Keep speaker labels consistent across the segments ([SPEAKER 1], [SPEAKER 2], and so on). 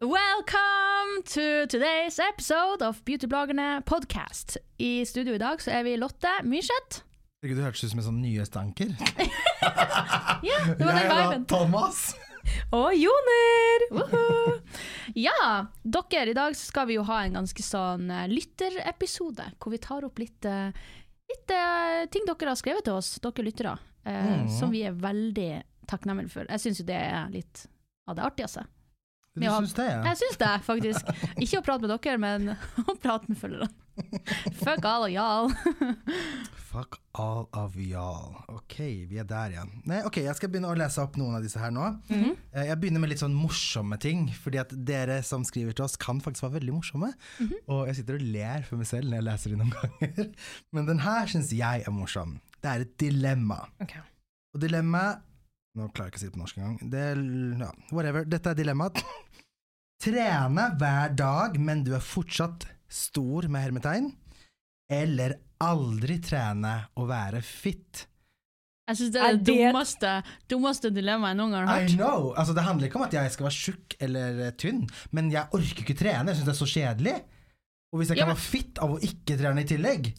[SPEAKER 1] Welcome to today's episode of Beautybloggerne podcast. I studio i dag så er vi Lotte Myrseth.
[SPEAKER 2] Herregud, du hørtes ut som en sånn nyhetstanker.
[SPEAKER 1] Ja, det var
[SPEAKER 2] Jeg
[SPEAKER 1] den
[SPEAKER 2] var
[SPEAKER 1] viben.
[SPEAKER 2] Thomas.
[SPEAKER 1] Og Joner! ja, dere, i dag så skal vi jo ha en ganske sånn eh, lytterepisode, hvor vi tar opp litt, eh, litt eh, ting dere har skrevet til oss, dere lyttere, eh, som vi er veldig takknemlige for. Jeg syns jo det er litt av det artigste.
[SPEAKER 2] Du
[SPEAKER 1] Ja.
[SPEAKER 2] syns det? ja?
[SPEAKER 1] Jeg syns det, faktisk. Ikke å prate med dere, men å prate med følgerne. Fuck all og y'all.
[SPEAKER 2] Fuck all of y'all. Ok, vi er der igjen. Nei, ok, Jeg skal begynne å lese opp noen av disse her nå. Eh, Jeg begynner med litt sånn morsomme ting, fordi at dere som skriver til oss, kan faktisk være veldig morsomme. Og jeg sitter og ler for meg selv når jeg leser de noen ganger. Men den her syns jeg er morsom. Det er et dilemma.
[SPEAKER 3] Ok.
[SPEAKER 2] Og dilemmaet Nå klarer jeg ikke å si det på norsk engang. Det, er- ja, whatever. Dette er dilemmaet. Trene hver dag, men du er fortsatt stor med hermetegn. Eller aldri trene og være fit.
[SPEAKER 1] Jeg syns Altså, det er
[SPEAKER 3] Er
[SPEAKER 1] det
[SPEAKER 3] det-
[SPEAKER 1] dummeste, dummeste dilemmaet jeg noen gang har
[SPEAKER 2] I
[SPEAKER 1] hørt.
[SPEAKER 2] know! Altså, det handler ikke om at jeg skal være tjukk eller eh, tynn, men jeg orker ikke trene. Jeg syns det er så kjedelig. Og hvis jeg
[SPEAKER 1] Ja,
[SPEAKER 2] kan
[SPEAKER 1] men-
[SPEAKER 2] være fit av å ikke trene i tillegg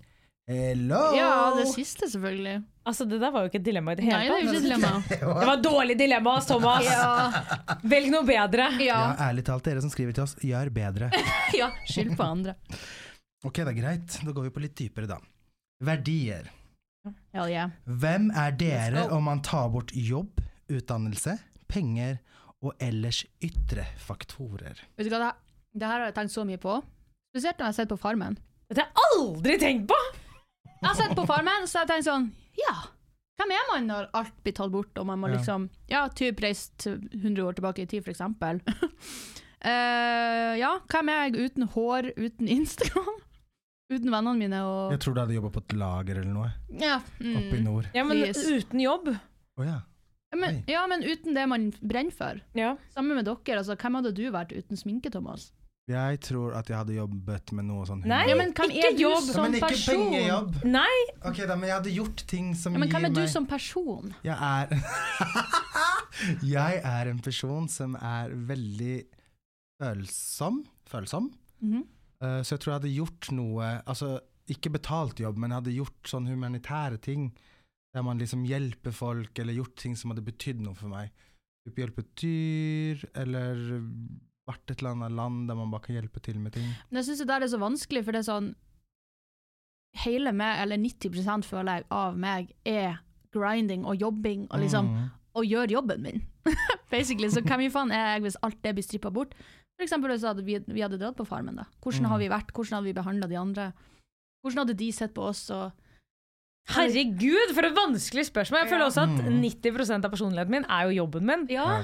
[SPEAKER 2] Hello!
[SPEAKER 1] Ja, det siste, selvfølgelig.
[SPEAKER 3] Altså, det der var jo ikke et dilemma i det
[SPEAKER 1] Nei, det
[SPEAKER 3] hele
[SPEAKER 1] er
[SPEAKER 3] tatt. Altså,
[SPEAKER 1] jo ikke et dilemma.
[SPEAKER 3] Det var et dårlig dilemma, Thomas. Velg noe bedre.
[SPEAKER 1] Ja.
[SPEAKER 2] Ja, ærlig talt, dere som skriver til oss, gjør bedre.
[SPEAKER 1] ja. Skyld på andre.
[SPEAKER 2] Ok, det er greit. Da går vi på litt dypere, da. Verdier.
[SPEAKER 1] Hell yeah.
[SPEAKER 2] Hvem er dere
[SPEAKER 1] Let's go.
[SPEAKER 2] om man tar bort jobb, utdannelse, penger og ellers ytre faktorer?
[SPEAKER 1] Vet du hva, det, her- det her har jeg tenkt så mye på. Spesielt når jeg har sett på Farmen.
[SPEAKER 3] Dette har jeg aldri tenkt på!
[SPEAKER 1] Jeg har sett på Farmen, så jeg tenkt sånn Ja, hvem er man når alt blir tatt bort, og man må
[SPEAKER 2] Ja.
[SPEAKER 1] liksom Ja, typ reist 100 år tilbake i tid, for eksempel. Eh, ja, hvem er jeg uten hår, uten Instagram? Uten vennene mine og
[SPEAKER 2] Jeg tror du hadde jobba på et lager eller noe,
[SPEAKER 1] Ja, mm.
[SPEAKER 2] oppe i nord.
[SPEAKER 3] Ja, men
[SPEAKER 1] Yes.
[SPEAKER 3] uten jobb.
[SPEAKER 2] Å ja.
[SPEAKER 1] men, ja, men uten det man brenner for.
[SPEAKER 3] Ja.
[SPEAKER 1] Sammen med dere, altså, hvem hadde du vært uten sminke, Thomas?
[SPEAKER 2] Jeg tror at jeg hadde jobbet med noe sånn
[SPEAKER 3] Nei,
[SPEAKER 1] Ja, men hvem
[SPEAKER 3] ikke
[SPEAKER 1] er du
[SPEAKER 3] jobb.
[SPEAKER 2] ja,
[SPEAKER 1] som
[SPEAKER 2] Men ikke
[SPEAKER 1] person?
[SPEAKER 2] pengejobb!
[SPEAKER 3] Nei,
[SPEAKER 2] Ok, da, men jeg hadde gjort ting som
[SPEAKER 1] Ja, men hvem
[SPEAKER 2] gir
[SPEAKER 1] er du
[SPEAKER 2] meg
[SPEAKER 1] som person?
[SPEAKER 2] Jeg er Jeg er en person som er veldig følsom. Følsom.
[SPEAKER 1] Mhm.
[SPEAKER 2] Eh, så jeg tror jeg hadde gjort noe Altså ikke betalt jobb, men jeg hadde gjort sånn humanitære ting. Der man liksom hjelper folk, eller gjort ting som hadde betydd noe for meg. Typ Hjulpet dyr, eller vært et eller annet land der man bare kan hjelpe til med ting.
[SPEAKER 1] Men jeg syns det der er så vanskelig, for det er sånn Hele meg, eller 90 føler jeg av meg, er grinding og jobbing og liksom
[SPEAKER 2] Mm.
[SPEAKER 1] Og gjør jobben min. Basically, Så hvem i faen er jeg hvis alt det blir strippa bort? For eksempel hvis hadde vi, vi hadde dratt på Farmen, da. Hvordan
[SPEAKER 2] Mm.
[SPEAKER 1] har vi vært? Hvordan hadde vi behandla de andre? Hvordan hadde de sett på oss? Og
[SPEAKER 3] herregud, for et vanskelig spørsmål. Jeg føler også at
[SPEAKER 2] Mm.
[SPEAKER 3] 90 av personligheten min er jo jobben min.
[SPEAKER 1] ja,
[SPEAKER 2] Ja.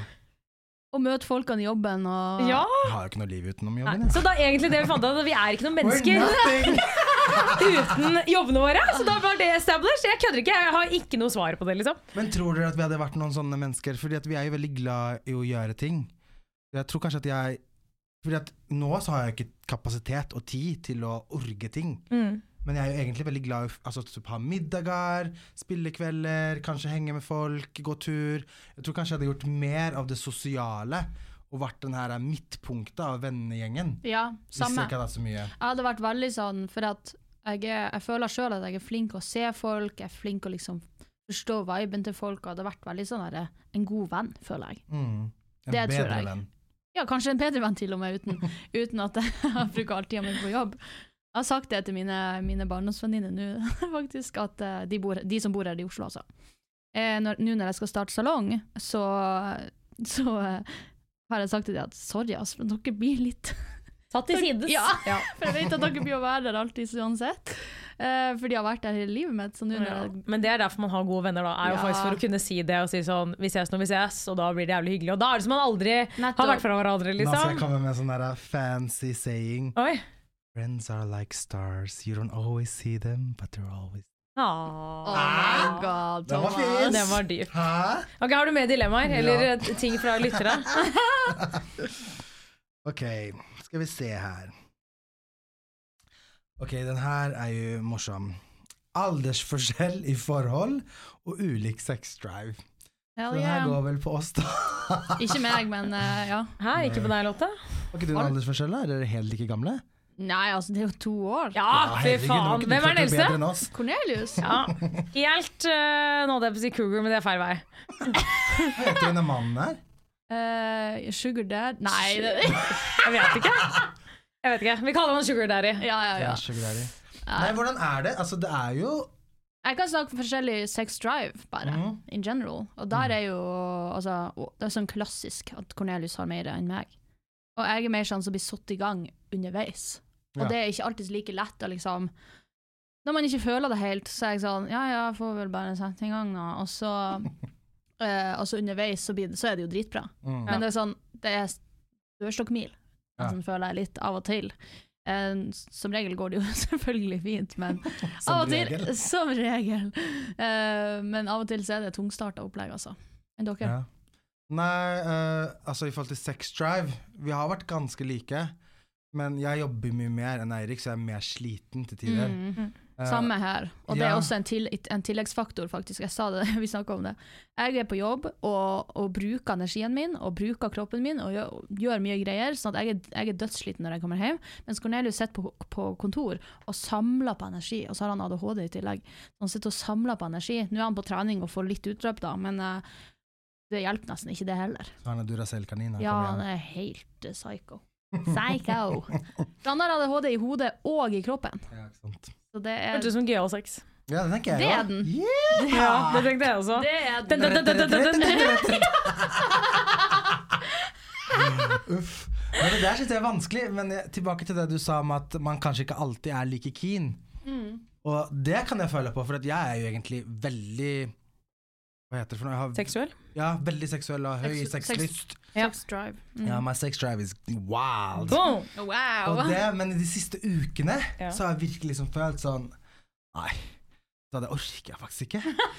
[SPEAKER 1] og møte folkene i jobben og
[SPEAKER 3] Ja!
[SPEAKER 2] Jeg har jo ikke noe liv utenom jobben.
[SPEAKER 3] Nei. Så da egentlig det vi fant ut, at vi er ikke noen
[SPEAKER 2] jeg.
[SPEAKER 3] mennesker
[SPEAKER 2] We're nothing.
[SPEAKER 3] uten jobbene våre. Så da var det established. Jeg kødder ikke, jeg har ikke noe svar på det, liksom.
[SPEAKER 2] Men tror dere at vi hadde vært noen sånne mennesker? Fordi at vi er jo veldig glad i å gjøre ting. Jeg tror kanskje at jeg Fordi at nå så har jeg ikke kapasitet og tid til å orge ting.
[SPEAKER 1] Mm.
[SPEAKER 2] Men jeg er jo egentlig veldig glad i å f- altså, typ ha middager, spillekvelder, kanskje henge med folk, gå tur. Jeg tror kanskje jeg hadde gjort mer av det sosiale og vært den her midtpunktet av vennegjengen.
[SPEAKER 1] ja
[SPEAKER 2] Hvis jeg
[SPEAKER 1] samme.
[SPEAKER 2] ikke hadde hatt så mye.
[SPEAKER 1] Jeg hadde vært veldig sånn, for at jeg, er, jeg føler sjøl at jeg er flink å se folk, jeg er flink å liksom forstå viben til folk, og hadde vært veldig sånn der, en god venn, føler jeg.
[SPEAKER 2] Mm. En
[SPEAKER 1] Det tror
[SPEAKER 2] bedre
[SPEAKER 1] jeg.
[SPEAKER 2] venn.
[SPEAKER 1] Ja, kanskje en bedre venn til og med, uten, uten at jeg bruker all tida mi på jobb. Jeg har sagt det til mine, mine barndomsvenninner nå, faktisk, at eh, de, bor, de som bor her i Oslo, altså. Eh, når- Nå når jeg skal starte salong, så, så eh, har jeg sagt til dem at sorry, ass, men dere blir litt
[SPEAKER 3] Satt til sides.
[SPEAKER 1] Ja, for jeg vet at dere blir å være der alltid så uansett. Eh, for de har vært der hele livet mitt. Så nå når
[SPEAKER 3] Ja.
[SPEAKER 1] jeg
[SPEAKER 3] Men det er derfor man har gode venner, da. Er jo
[SPEAKER 1] Ja.
[SPEAKER 3] faktisk For å kunne si det og si sånn Vi ses når vi ses, og da blir det jævlig hyggelig. Og da er det som man aldri har vært fra hverandre,
[SPEAKER 2] Nå skal jeg
[SPEAKER 3] liksom.
[SPEAKER 2] komme med en sånn der fancy saying.
[SPEAKER 3] Oi.
[SPEAKER 2] Friends are like stars. You don't always see them, but they're always
[SPEAKER 1] Oh
[SPEAKER 3] Ah.
[SPEAKER 1] my god,
[SPEAKER 2] Den var
[SPEAKER 1] Thomas.
[SPEAKER 2] fin.
[SPEAKER 3] Den var dyp.
[SPEAKER 2] Hæ?
[SPEAKER 3] Ok, Har du med dilemmaer eller
[SPEAKER 2] Ja.
[SPEAKER 3] eh, ting fra lyttere?
[SPEAKER 2] Ok, skal vi se her. Ok, den her er jo morsom. Aldersforskjell i forhold og ulik sexdrive. Så
[SPEAKER 1] Hell
[SPEAKER 2] den her
[SPEAKER 1] yeah.
[SPEAKER 2] går vel på oss, da.
[SPEAKER 1] Ikke meg, men eh, ja.
[SPEAKER 3] Hæ, ikke på deg, Lotte?
[SPEAKER 2] Har ikke du en aldersforskjell, da? Er dere helt like gamle?
[SPEAKER 1] Nei, altså, det er jo to år.
[SPEAKER 3] Ja, fy
[SPEAKER 2] herregud, nå
[SPEAKER 3] faen.
[SPEAKER 2] ikke du
[SPEAKER 3] Hvem er den
[SPEAKER 2] klart
[SPEAKER 3] eldste?
[SPEAKER 2] bedre enn oss.
[SPEAKER 1] Cornelius.
[SPEAKER 3] Ja. Helt uh, Nå hadde jeg på å si Cougar, men det er feil vei.
[SPEAKER 2] Hva heter denne mannen her?
[SPEAKER 1] Eh, sugar dad Nei, det
[SPEAKER 3] Jeg vet ikke. Jeg vet ikke. Vi kaller han Sugar Daddy.
[SPEAKER 1] Ja, ja, ja.
[SPEAKER 2] Ja. Nei, hvordan er det? Altså, det er jo
[SPEAKER 1] Jeg kan snakke om forskjellig sex drive, bare.
[SPEAKER 2] Mhm.
[SPEAKER 1] In general. Og der er jo altså, å, Det er sånn klassisk at Cornelius har mer enn meg. Og jeg er mer sånn som blir satt i gang underveis. Og
[SPEAKER 2] Ja.
[SPEAKER 1] det er ikke alltid like lett å liksom Når man ikke føler det helt, så er jeg sånn Ja, ja, jeg får vel bare sette i gang, da. Og så, eh, og så underveis så, blir det, så er det jo dritbra.
[SPEAKER 2] mm.
[SPEAKER 1] Men det er sånn Det er dørstokkmil,
[SPEAKER 2] Ja.
[SPEAKER 1] sånn føler jeg litt av og til. Eh, som regel går det jo selvfølgelig fint, men
[SPEAKER 2] Som
[SPEAKER 1] av og til,
[SPEAKER 2] regel.
[SPEAKER 1] Som regel. Eh, men av og til så er det tungstarta opplegg, altså. Enn dere?
[SPEAKER 2] Ja. Nei, eh, altså i forhold til sex drive Vi har vært ganske like, men jeg jobber mye mer enn Eirik, så jeg er mer sliten til tider.
[SPEAKER 1] Mm.
[SPEAKER 2] Eh,
[SPEAKER 1] Samme her. Og det er
[SPEAKER 2] ja.
[SPEAKER 1] også en, til, en tilleggsfaktor, faktisk. Jeg sa det, vi snakka om det. Jeg er på jobb og, og bruker energien min og bruker kroppen min og gjør, gjør mye greier, sånn at jeg er, jeg er dødssliten når jeg kommer hjem. Mens Cornelius sitter på, på kontor og samler på energi, og så har han ADHD i tillegg. Han sitter og samler på energi. Nå er han på trening og får litt utløp, da, men eh, det hjelper nesten ikke, det heller.
[SPEAKER 2] Så han er Duracell-kanin.
[SPEAKER 1] Ja,
[SPEAKER 2] Ja,
[SPEAKER 1] han er helt eh, psycho. Psycho. For Han har ADHD i hodet og i kroppen.
[SPEAKER 2] ja, ikke sant.
[SPEAKER 1] Så det er
[SPEAKER 3] Hørtes ut som gøyal sex.
[SPEAKER 2] ja, det tenker jeg
[SPEAKER 1] Det er
[SPEAKER 2] også.
[SPEAKER 1] den.
[SPEAKER 2] Yeah!
[SPEAKER 3] Ja, det tenkte jeg også.
[SPEAKER 1] Det er
[SPEAKER 3] Dun, dun, dun, dun, dun, dun.
[SPEAKER 2] Uff. Men det der synes jeg er vanskelig, men jeg, tilbake til det du sa om at man kanskje ikke alltid er like keen.
[SPEAKER 1] Mm.
[SPEAKER 2] Og det kan jeg føle på, for at jeg er jo egentlig veldig Hva heter det for noe? Jeg har,
[SPEAKER 3] Seksuell?
[SPEAKER 2] ja, veldig seksuell og høy
[SPEAKER 1] Seks- seks-
[SPEAKER 2] sexlyst.
[SPEAKER 3] Ja.
[SPEAKER 1] Sex drive.
[SPEAKER 2] Ja, my sex drive is wild.
[SPEAKER 3] Boom!
[SPEAKER 1] Wow.
[SPEAKER 2] Og det, men i de siste ukene
[SPEAKER 3] Ja.
[SPEAKER 2] så har jeg virkelig liksom følt sånn Nei, da det orker jeg faktisk ikke. Nei,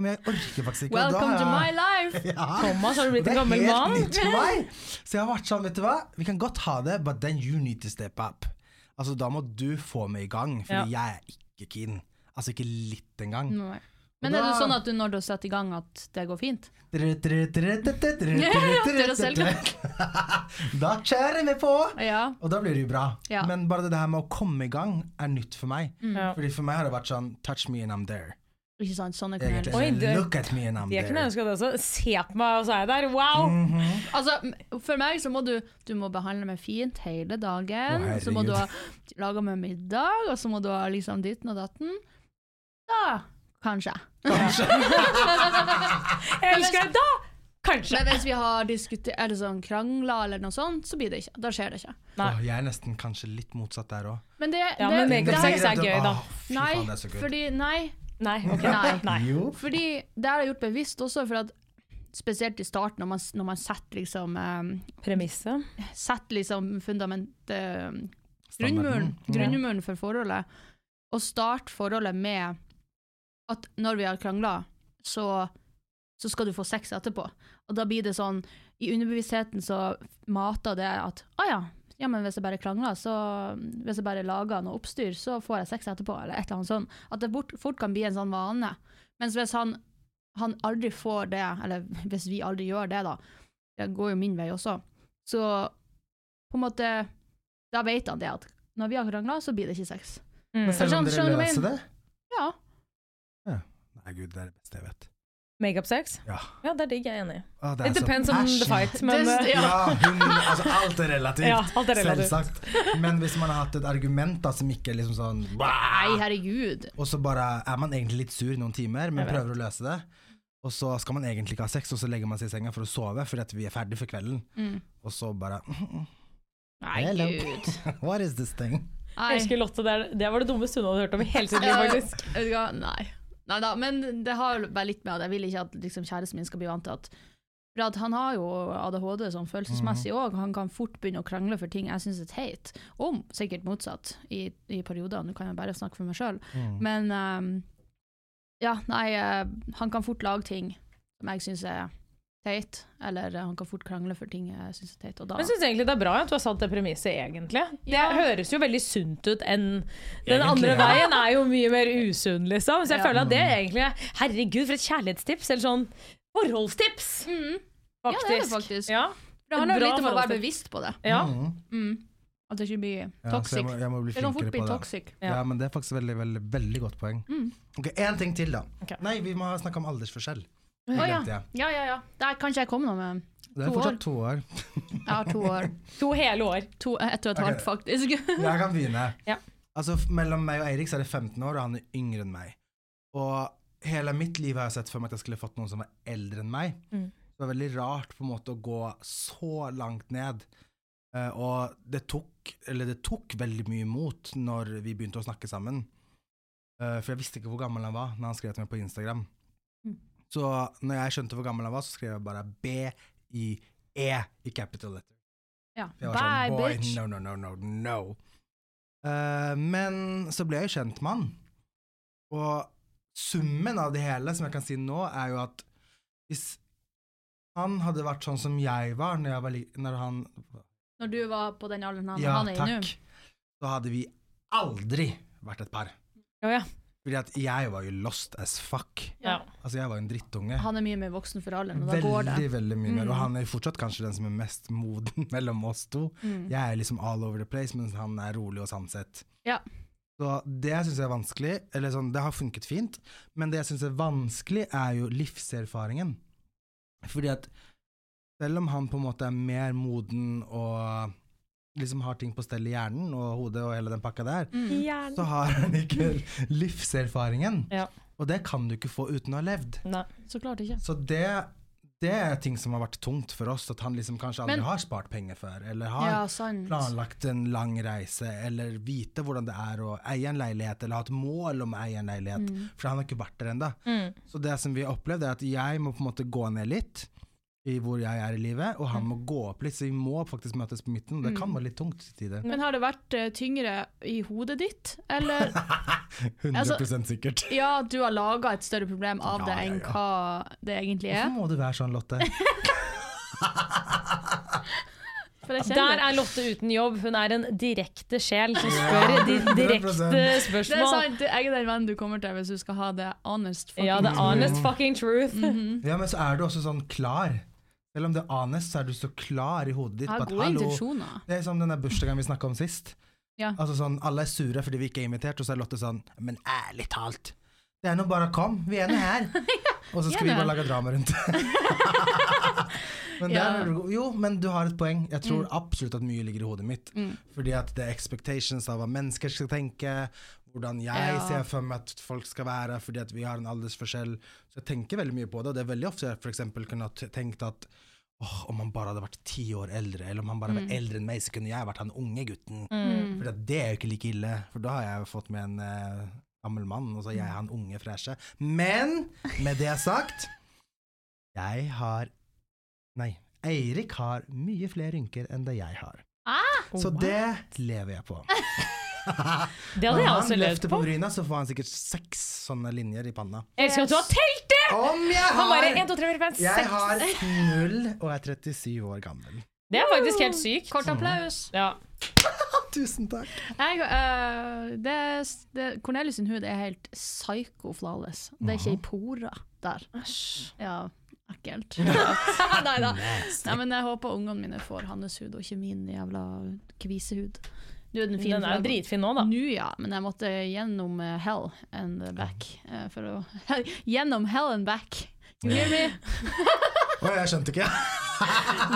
[SPEAKER 2] Men jeg orker faktisk ikke. og da
[SPEAKER 1] Welcome
[SPEAKER 2] har
[SPEAKER 1] to my
[SPEAKER 2] jeg-
[SPEAKER 1] life!
[SPEAKER 2] Ja.
[SPEAKER 3] Thomas, har du blitt
[SPEAKER 2] Det
[SPEAKER 3] en
[SPEAKER 2] er helt
[SPEAKER 3] gammel mann?
[SPEAKER 2] nytt for meg. Så jeg har vært sånn, vet du hva, vi kan godt ha det, but then you need to step up. Altså, da må du få meg i gang, fordi jeg er ikke keen. Altså, ikke litt engang.
[SPEAKER 1] Nei. Men er det sånn at du når du setter i gang, at det går fint?
[SPEAKER 2] Da kjører vi på!
[SPEAKER 1] Ja.
[SPEAKER 2] Og da blir det jo bra.
[SPEAKER 1] Ja.
[SPEAKER 2] Men bare det her med å komme i gang er nytt for meg.
[SPEAKER 1] Mm.
[SPEAKER 3] Ja.
[SPEAKER 2] Fordi For meg har det vært sånn Touch me and I'm there.
[SPEAKER 1] Ikke sant? Sånn er
[SPEAKER 2] Egentlig.
[SPEAKER 1] Cornelius.
[SPEAKER 3] Oi, det-
[SPEAKER 2] Look at me and I'm
[SPEAKER 3] Det
[SPEAKER 2] there. Mhm.
[SPEAKER 3] kunne jeg ønska det også. altså. Se på meg, og så er jeg der. Wow!
[SPEAKER 2] Mm.
[SPEAKER 1] Altså, m- for meg så må du Du må behandle meg fint hele dagen.
[SPEAKER 2] Å,
[SPEAKER 1] så må du
[SPEAKER 2] herregud.
[SPEAKER 1] ha laga meg middag, og så må du ha liksom ditten og datten. Da kanskje.
[SPEAKER 3] Jeg elsker deg da! Kanskje.
[SPEAKER 1] Men hvis vi har diskutert Er det sånn krangla eller noe sånt, så blir det ikke. Da skjer det ikke.
[SPEAKER 2] Åh, jeg er nesten kanskje litt motsatt der òg.
[SPEAKER 1] Men det, det
[SPEAKER 3] Ja, men
[SPEAKER 1] det-
[SPEAKER 3] makeup sex er gøy, da.
[SPEAKER 1] Nei,
[SPEAKER 2] faen, det er så good.
[SPEAKER 1] fordi Nei.
[SPEAKER 3] Nei. ok.
[SPEAKER 1] Nei.
[SPEAKER 3] Nei.
[SPEAKER 2] Jo.
[SPEAKER 1] Fordi det har jeg gjort bevisst også, for at spesielt i starten, når man, når man setter liksom, eh,
[SPEAKER 3] Premisset.
[SPEAKER 1] setter liksom fundament, eh, grunnmuren,
[SPEAKER 2] Standarden.
[SPEAKER 1] grunnmuren for forholdet, og start forholdet med at når vi har krangla, så, så skal du få sex etterpå. Og da blir det sånn, i underbevisstheten så mater det at, ah ja, ja, men hvis jeg bare krangler, så hvis jeg bare lager noe oppstyr, så får jeg sex etterpå, eller et eller annet sånt. At det fort, fort kan bli en sånn vane. Mens hvis han, han aldri får det, eller hvis vi aldri gjør det da, det går jo min vei også, så på en måte, da vet han det at når vi har krangla, så blir det ikke sex.
[SPEAKER 3] Mm.
[SPEAKER 2] Men selv om
[SPEAKER 1] Skjønner-
[SPEAKER 2] dere
[SPEAKER 1] skjønner du
[SPEAKER 2] løser
[SPEAKER 1] min-
[SPEAKER 2] det
[SPEAKER 1] Ja.
[SPEAKER 2] Nei, gud, det er det beste jeg vet.
[SPEAKER 3] Makeup sex?
[SPEAKER 2] Ja.
[SPEAKER 3] Ja, det er digg. Jeg er enig i.
[SPEAKER 2] Åh, det er
[SPEAKER 3] It
[SPEAKER 2] så
[SPEAKER 3] depends on
[SPEAKER 2] passion.
[SPEAKER 3] the fight, men
[SPEAKER 1] Det-
[SPEAKER 3] eh,
[SPEAKER 1] ja.
[SPEAKER 2] Ja, hun, altså, alt er relativt.
[SPEAKER 3] Ja, alt er relativt.
[SPEAKER 2] Selvsagt. Men hvis man har hatt et argument da, som ikke er liksom sånn
[SPEAKER 1] Nei, herregud.
[SPEAKER 2] Og så bare er man egentlig litt sur noen timer, men
[SPEAKER 3] Jeg vet.
[SPEAKER 2] prøver å løse det. Og så skal man egentlig ikke ha sex, og så legger man seg i senga for å sove fordi at vi er ferdig for kvelden.
[SPEAKER 1] Mm.
[SPEAKER 2] Og så bare
[SPEAKER 1] Nei,
[SPEAKER 2] Hello.
[SPEAKER 1] gud.
[SPEAKER 2] What is this thing?
[SPEAKER 3] Jeg
[SPEAKER 1] Nei.
[SPEAKER 3] elsker Lotte, det, er- det var det dummeste hun hadde hørt om i hele sitt liv,
[SPEAKER 1] Ja,
[SPEAKER 3] faktisk.
[SPEAKER 1] vet du hva? Nei. Nei da, men det har vel bare litt med at jeg vil ikke at liksom, kjæresten min skal bli vant til at for at Han har jo ADHD sånn følelsesmessig òg, han kan fort begynne å krangle for ting jeg syns er teit. Om sikkert motsatt i, i perioder, nå kan jeg bare snakke for meg sjøl.
[SPEAKER 2] Mm.
[SPEAKER 1] Men ehm, ja, nei, eh, han kan fort lage ting som jeg syns er teit, eller eh, han kan fort krangle for ting jeg syns er teit. Og da,
[SPEAKER 3] Jeg syns egentlig det er bra at du har satt det premisset, egentlig. Det
[SPEAKER 1] Ja.
[SPEAKER 3] høres jo veldig sunt ut enn den
[SPEAKER 2] Egentlig,
[SPEAKER 3] andre
[SPEAKER 2] ja.
[SPEAKER 3] veien er jo mye mer usunn, liksom. Så jeg
[SPEAKER 1] Ja.
[SPEAKER 3] føler at det er egentlig er Herregud, for et kjærlighetstips! Eller sånn forholdstips,
[SPEAKER 1] mm, ja,
[SPEAKER 3] faktisk.
[SPEAKER 1] det er det faktisk.
[SPEAKER 3] Ja.
[SPEAKER 1] det handler jo
[SPEAKER 3] bra
[SPEAKER 1] litt om å
[SPEAKER 3] forhold
[SPEAKER 1] være
[SPEAKER 3] til-
[SPEAKER 1] bevisst på det.
[SPEAKER 3] Ja.
[SPEAKER 2] Mm.
[SPEAKER 1] Mm. At det ikke blir
[SPEAKER 2] Ja, så
[SPEAKER 1] toxic.
[SPEAKER 2] jeg må, jeg må bli
[SPEAKER 1] Det kan fort
[SPEAKER 2] flinkere
[SPEAKER 1] bli
[SPEAKER 2] på det.
[SPEAKER 1] toxic.
[SPEAKER 2] Ja. men det er faktisk veldig, veldig, veldig godt poeng.
[SPEAKER 1] Mm.
[SPEAKER 2] Ok, Én ting til, da.
[SPEAKER 3] Ok.
[SPEAKER 2] Nei, vi må snakke om aldersforskjell.
[SPEAKER 1] Å
[SPEAKER 2] Det
[SPEAKER 1] ja.
[SPEAKER 2] glemte jeg.
[SPEAKER 1] ja, ja, ja. Der kan ikke jeg komme noe med.
[SPEAKER 2] Det
[SPEAKER 1] To
[SPEAKER 2] er fortsatt to år.
[SPEAKER 1] Jeg har to år.
[SPEAKER 3] To hele år.
[SPEAKER 1] To, ett og et
[SPEAKER 2] Ok.
[SPEAKER 1] halvt, faktisk.
[SPEAKER 2] Jeg kan begynne.
[SPEAKER 3] Ja.
[SPEAKER 2] Altså, f- mellom meg og Eirik så er det 15 år, og han er yngre enn meg. Og hele mitt liv har jeg sett for meg at jeg skulle fått noen som var eldre enn meg.
[SPEAKER 3] Mm.
[SPEAKER 2] Det var veldig rart på en måte å gå så langt ned. Eh, og det tok, eller det tok veldig mye mot når vi begynte å snakke sammen. Eh, for jeg visste ikke hvor gammel han var når han skrev til meg på Instagram.
[SPEAKER 1] Mm.
[SPEAKER 2] Så når jeg skjønte hvor gammel han var, så skrev jeg bare B-I-E i capital letter.
[SPEAKER 1] Ja.
[SPEAKER 2] Jeg var
[SPEAKER 1] Bye,
[SPEAKER 2] sånn, boy,
[SPEAKER 1] bitch.
[SPEAKER 2] no, no, no, no, no. Eh, men så ble jeg jo kjent med han. Og summen av det hele, som jeg kan si nå, er jo at hvis han hadde vært sånn som jeg var når, jeg var li når han
[SPEAKER 1] Når du var på den alderen han,
[SPEAKER 2] Ja,
[SPEAKER 1] han er i nå.
[SPEAKER 2] takk. Så hadde vi aldri vært et par.
[SPEAKER 3] Å ja.
[SPEAKER 2] Fordi at jeg var jo lost as fuck.
[SPEAKER 3] Ja.
[SPEAKER 2] Altså, jeg var en drittunge.
[SPEAKER 1] Han er mye mer voksen for alderen, og da går det.
[SPEAKER 2] Veldig, veldig mye mer.
[SPEAKER 1] Mm.
[SPEAKER 2] Og han er jo fortsatt kanskje den som er mest moden mellom oss to.
[SPEAKER 1] Mm.
[SPEAKER 2] Jeg er liksom all over the place, mens han er rolig og sansett.
[SPEAKER 1] Ja.
[SPEAKER 2] Så det syns jeg er vanskelig. Eller sånn, det har funket fint, men det jeg syns er vanskelig, er jo livserfaringen. Fordi at selv om han på en måte er mer moden og liksom har ting på stell i hjernen og hodet og hele den pakka der,
[SPEAKER 1] Mm.
[SPEAKER 3] Gjerne.
[SPEAKER 2] så har han ikke livserfaringen.
[SPEAKER 3] Ja.
[SPEAKER 2] Og det kan du ikke få uten å ha levd.
[SPEAKER 3] Nei.
[SPEAKER 1] Så klart ikke.
[SPEAKER 2] Så det, det er ting som har vært tungt for oss, at han liksom kanskje aldri
[SPEAKER 1] Men-
[SPEAKER 2] har spart penger før, eller har
[SPEAKER 1] Ja, sant.
[SPEAKER 2] planlagt en lang reise, eller vite hvordan det er å eie en leilighet, eller ha et mål om å eie en leilighet.
[SPEAKER 1] Mm.
[SPEAKER 2] For han har ikke vært der ennå.
[SPEAKER 3] Mm.
[SPEAKER 2] Så det som vi har opplevd, er at jeg må på en måte gå ned litt i hvor jeg er i livet, og
[SPEAKER 1] Mm.
[SPEAKER 2] han må gå opp litt, så vi må faktisk møtes på midten. og Det kan være litt tungt til tider.
[SPEAKER 1] Men har det vært eh, tyngre i hodet ditt, eller Altså-
[SPEAKER 2] 100 sikkert.
[SPEAKER 1] ja, at du har laga et større problem av
[SPEAKER 2] Ja,
[SPEAKER 1] det
[SPEAKER 2] ja,
[SPEAKER 1] enn
[SPEAKER 2] ja.
[SPEAKER 1] hva det egentlig
[SPEAKER 2] Hvorfor
[SPEAKER 1] er?
[SPEAKER 2] må du være sånn, Lotte?
[SPEAKER 1] For jeg
[SPEAKER 3] Der
[SPEAKER 1] kjenner
[SPEAKER 3] er Lotte uten jobb. Hun er en direkte sjel som spør de
[SPEAKER 2] 100%.
[SPEAKER 3] direkte
[SPEAKER 1] det er
[SPEAKER 3] spørsmål.
[SPEAKER 1] sant, jeg er den vennen du kommer til hvis du skal ha det honest. fucking
[SPEAKER 3] Ja, the
[SPEAKER 1] truth. Mm-hmm.
[SPEAKER 3] honest fucking truth.
[SPEAKER 1] Mm.
[SPEAKER 2] Ja, men så er du også sånn klar. Selv om det er anest, så er du så klar i hodet ditt.
[SPEAKER 1] Jeg
[SPEAKER 2] på
[SPEAKER 1] har
[SPEAKER 2] at,
[SPEAKER 1] gode
[SPEAKER 2] «Hallo,
[SPEAKER 1] intensjoner.
[SPEAKER 2] Det er som den der bursdagen vi snakka om sist.
[SPEAKER 1] Ja.
[SPEAKER 2] Altså sånn, Alle er sure fordi vi ikke er invitert, og så er Lotte sånn Men ærlig talt, det er nå bare å komme, vi er nå her. Og så skal
[SPEAKER 1] vi
[SPEAKER 2] vi
[SPEAKER 1] er
[SPEAKER 2] bare
[SPEAKER 1] nå
[SPEAKER 2] lage drama rundt det. men det
[SPEAKER 1] Ja. Mm.
[SPEAKER 2] er, jo, men du har et poeng. Jeg tror absolutt at mye ligger i hodet mitt. Fordi at det er expectations av hva mennesker skal tenke, hvordan jeg
[SPEAKER 1] Ja.
[SPEAKER 2] ser for meg at folk skal være, fordi at vi har en aldersforskjell. Så jeg tenker veldig mye på det, og det er veldig ofte jeg for eksempel kunne ha t- tenkt at åh, om han bare hadde vært ti år eldre, eller om han bare var eldre enn meg, så kunne jeg vært han unge gutten.
[SPEAKER 1] Mm.
[SPEAKER 2] For det er jo ikke like ille, for da har jeg jo fått med en eh, gammel mann, og så er jeg
[SPEAKER 3] Mm.
[SPEAKER 2] han unge freshe. Men med det sagt, jeg har Nei, Eirik har mye flere rynker enn det jeg har.
[SPEAKER 1] Oh,
[SPEAKER 2] Så det lever jeg på.
[SPEAKER 3] Det hadde
[SPEAKER 2] Når
[SPEAKER 3] jeg
[SPEAKER 2] han
[SPEAKER 3] også levd
[SPEAKER 2] løfter
[SPEAKER 3] på.
[SPEAKER 2] på bryna, så får han sikkert seks sånne linjer i panna.
[SPEAKER 3] Jeg elsker at du har telt det!
[SPEAKER 2] Om jeg
[SPEAKER 3] Han bare
[SPEAKER 2] har
[SPEAKER 3] 1, 2, 3, 4, 5, 6.
[SPEAKER 2] Jeg har null og er 37 år gammel.
[SPEAKER 3] Det er faktisk helt sykt.
[SPEAKER 1] Kort applaus.
[SPEAKER 3] Ja.
[SPEAKER 2] Tusen takk.
[SPEAKER 1] Jeg, øh, det, det, Cornelius sin hud er helt psycho-flawless. Det er ikke i porer der. Ja, ekkelt. Nei da. Nei, men jeg håper ungene mine får hans hud, og ikke min jævla kvisehud. Du er den fine.
[SPEAKER 3] Den er jo dritfin nå, da.
[SPEAKER 1] Nå, ja, men jeg måtte gjennom eh, hell and back. eh, For å, gjennom hell and back. You hear me?
[SPEAKER 2] Å, jeg skjønte ikke.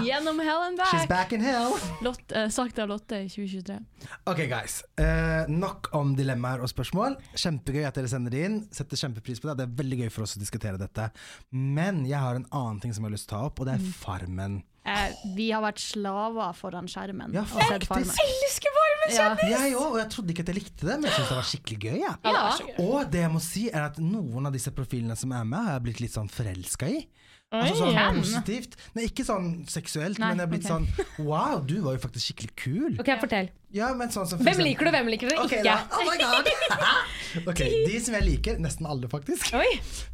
[SPEAKER 1] Gjennom hell and
[SPEAKER 2] She's
[SPEAKER 1] back.
[SPEAKER 2] back in hell.
[SPEAKER 1] Lot, eh, sagt av Lotte i 2023.
[SPEAKER 2] Ok, guys. Eh, nok om dilemmaer og spørsmål. Kjempegøy at dere sender det inn. Setter kjempepris på det. Det er veldig gøy for oss å diskutere dette. Men jeg har en annen ting som jeg har lyst til å ta opp, og det er Farmen.
[SPEAKER 1] Eh, vi har vært slaver foran skjermen.
[SPEAKER 2] Ja,
[SPEAKER 1] og sett
[SPEAKER 2] faktisk.
[SPEAKER 1] Farmen.
[SPEAKER 3] Elsker varmen!
[SPEAKER 1] Ja.
[SPEAKER 2] Jeg òg, og jeg trodde ikke at jeg likte det, men jeg syntes det var skikkelig gøy. Ja.
[SPEAKER 1] Ah, Ja.
[SPEAKER 2] Og det jeg må si, er at noen av disse profilene som er med, har jeg blitt litt sånn forelska i. Altså sånn
[SPEAKER 1] Hvem?
[SPEAKER 2] positivt. Nei, ikke sånn seksuelt,
[SPEAKER 1] Nei,
[SPEAKER 2] men jeg har blitt
[SPEAKER 1] ok.
[SPEAKER 2] sånn Wow, du var jo faktisk skikkelig kul.
[SPEAKER 3] Ok, fortell.
[SPEAKER 2] Ja, men sånn som for
[SPEAKER 3] Hvem
[SPEAKER 2] eksempel-
[SPEAKER 3] liker du, hvem liker du
[SPEAKER 2] Ok,
[SPEAKER 3] ikke?
[SPEAKER 2] da. Oh my god! ok, De som jeg liker, nesten alle faktisk.
[SPEAKER 3] Oi.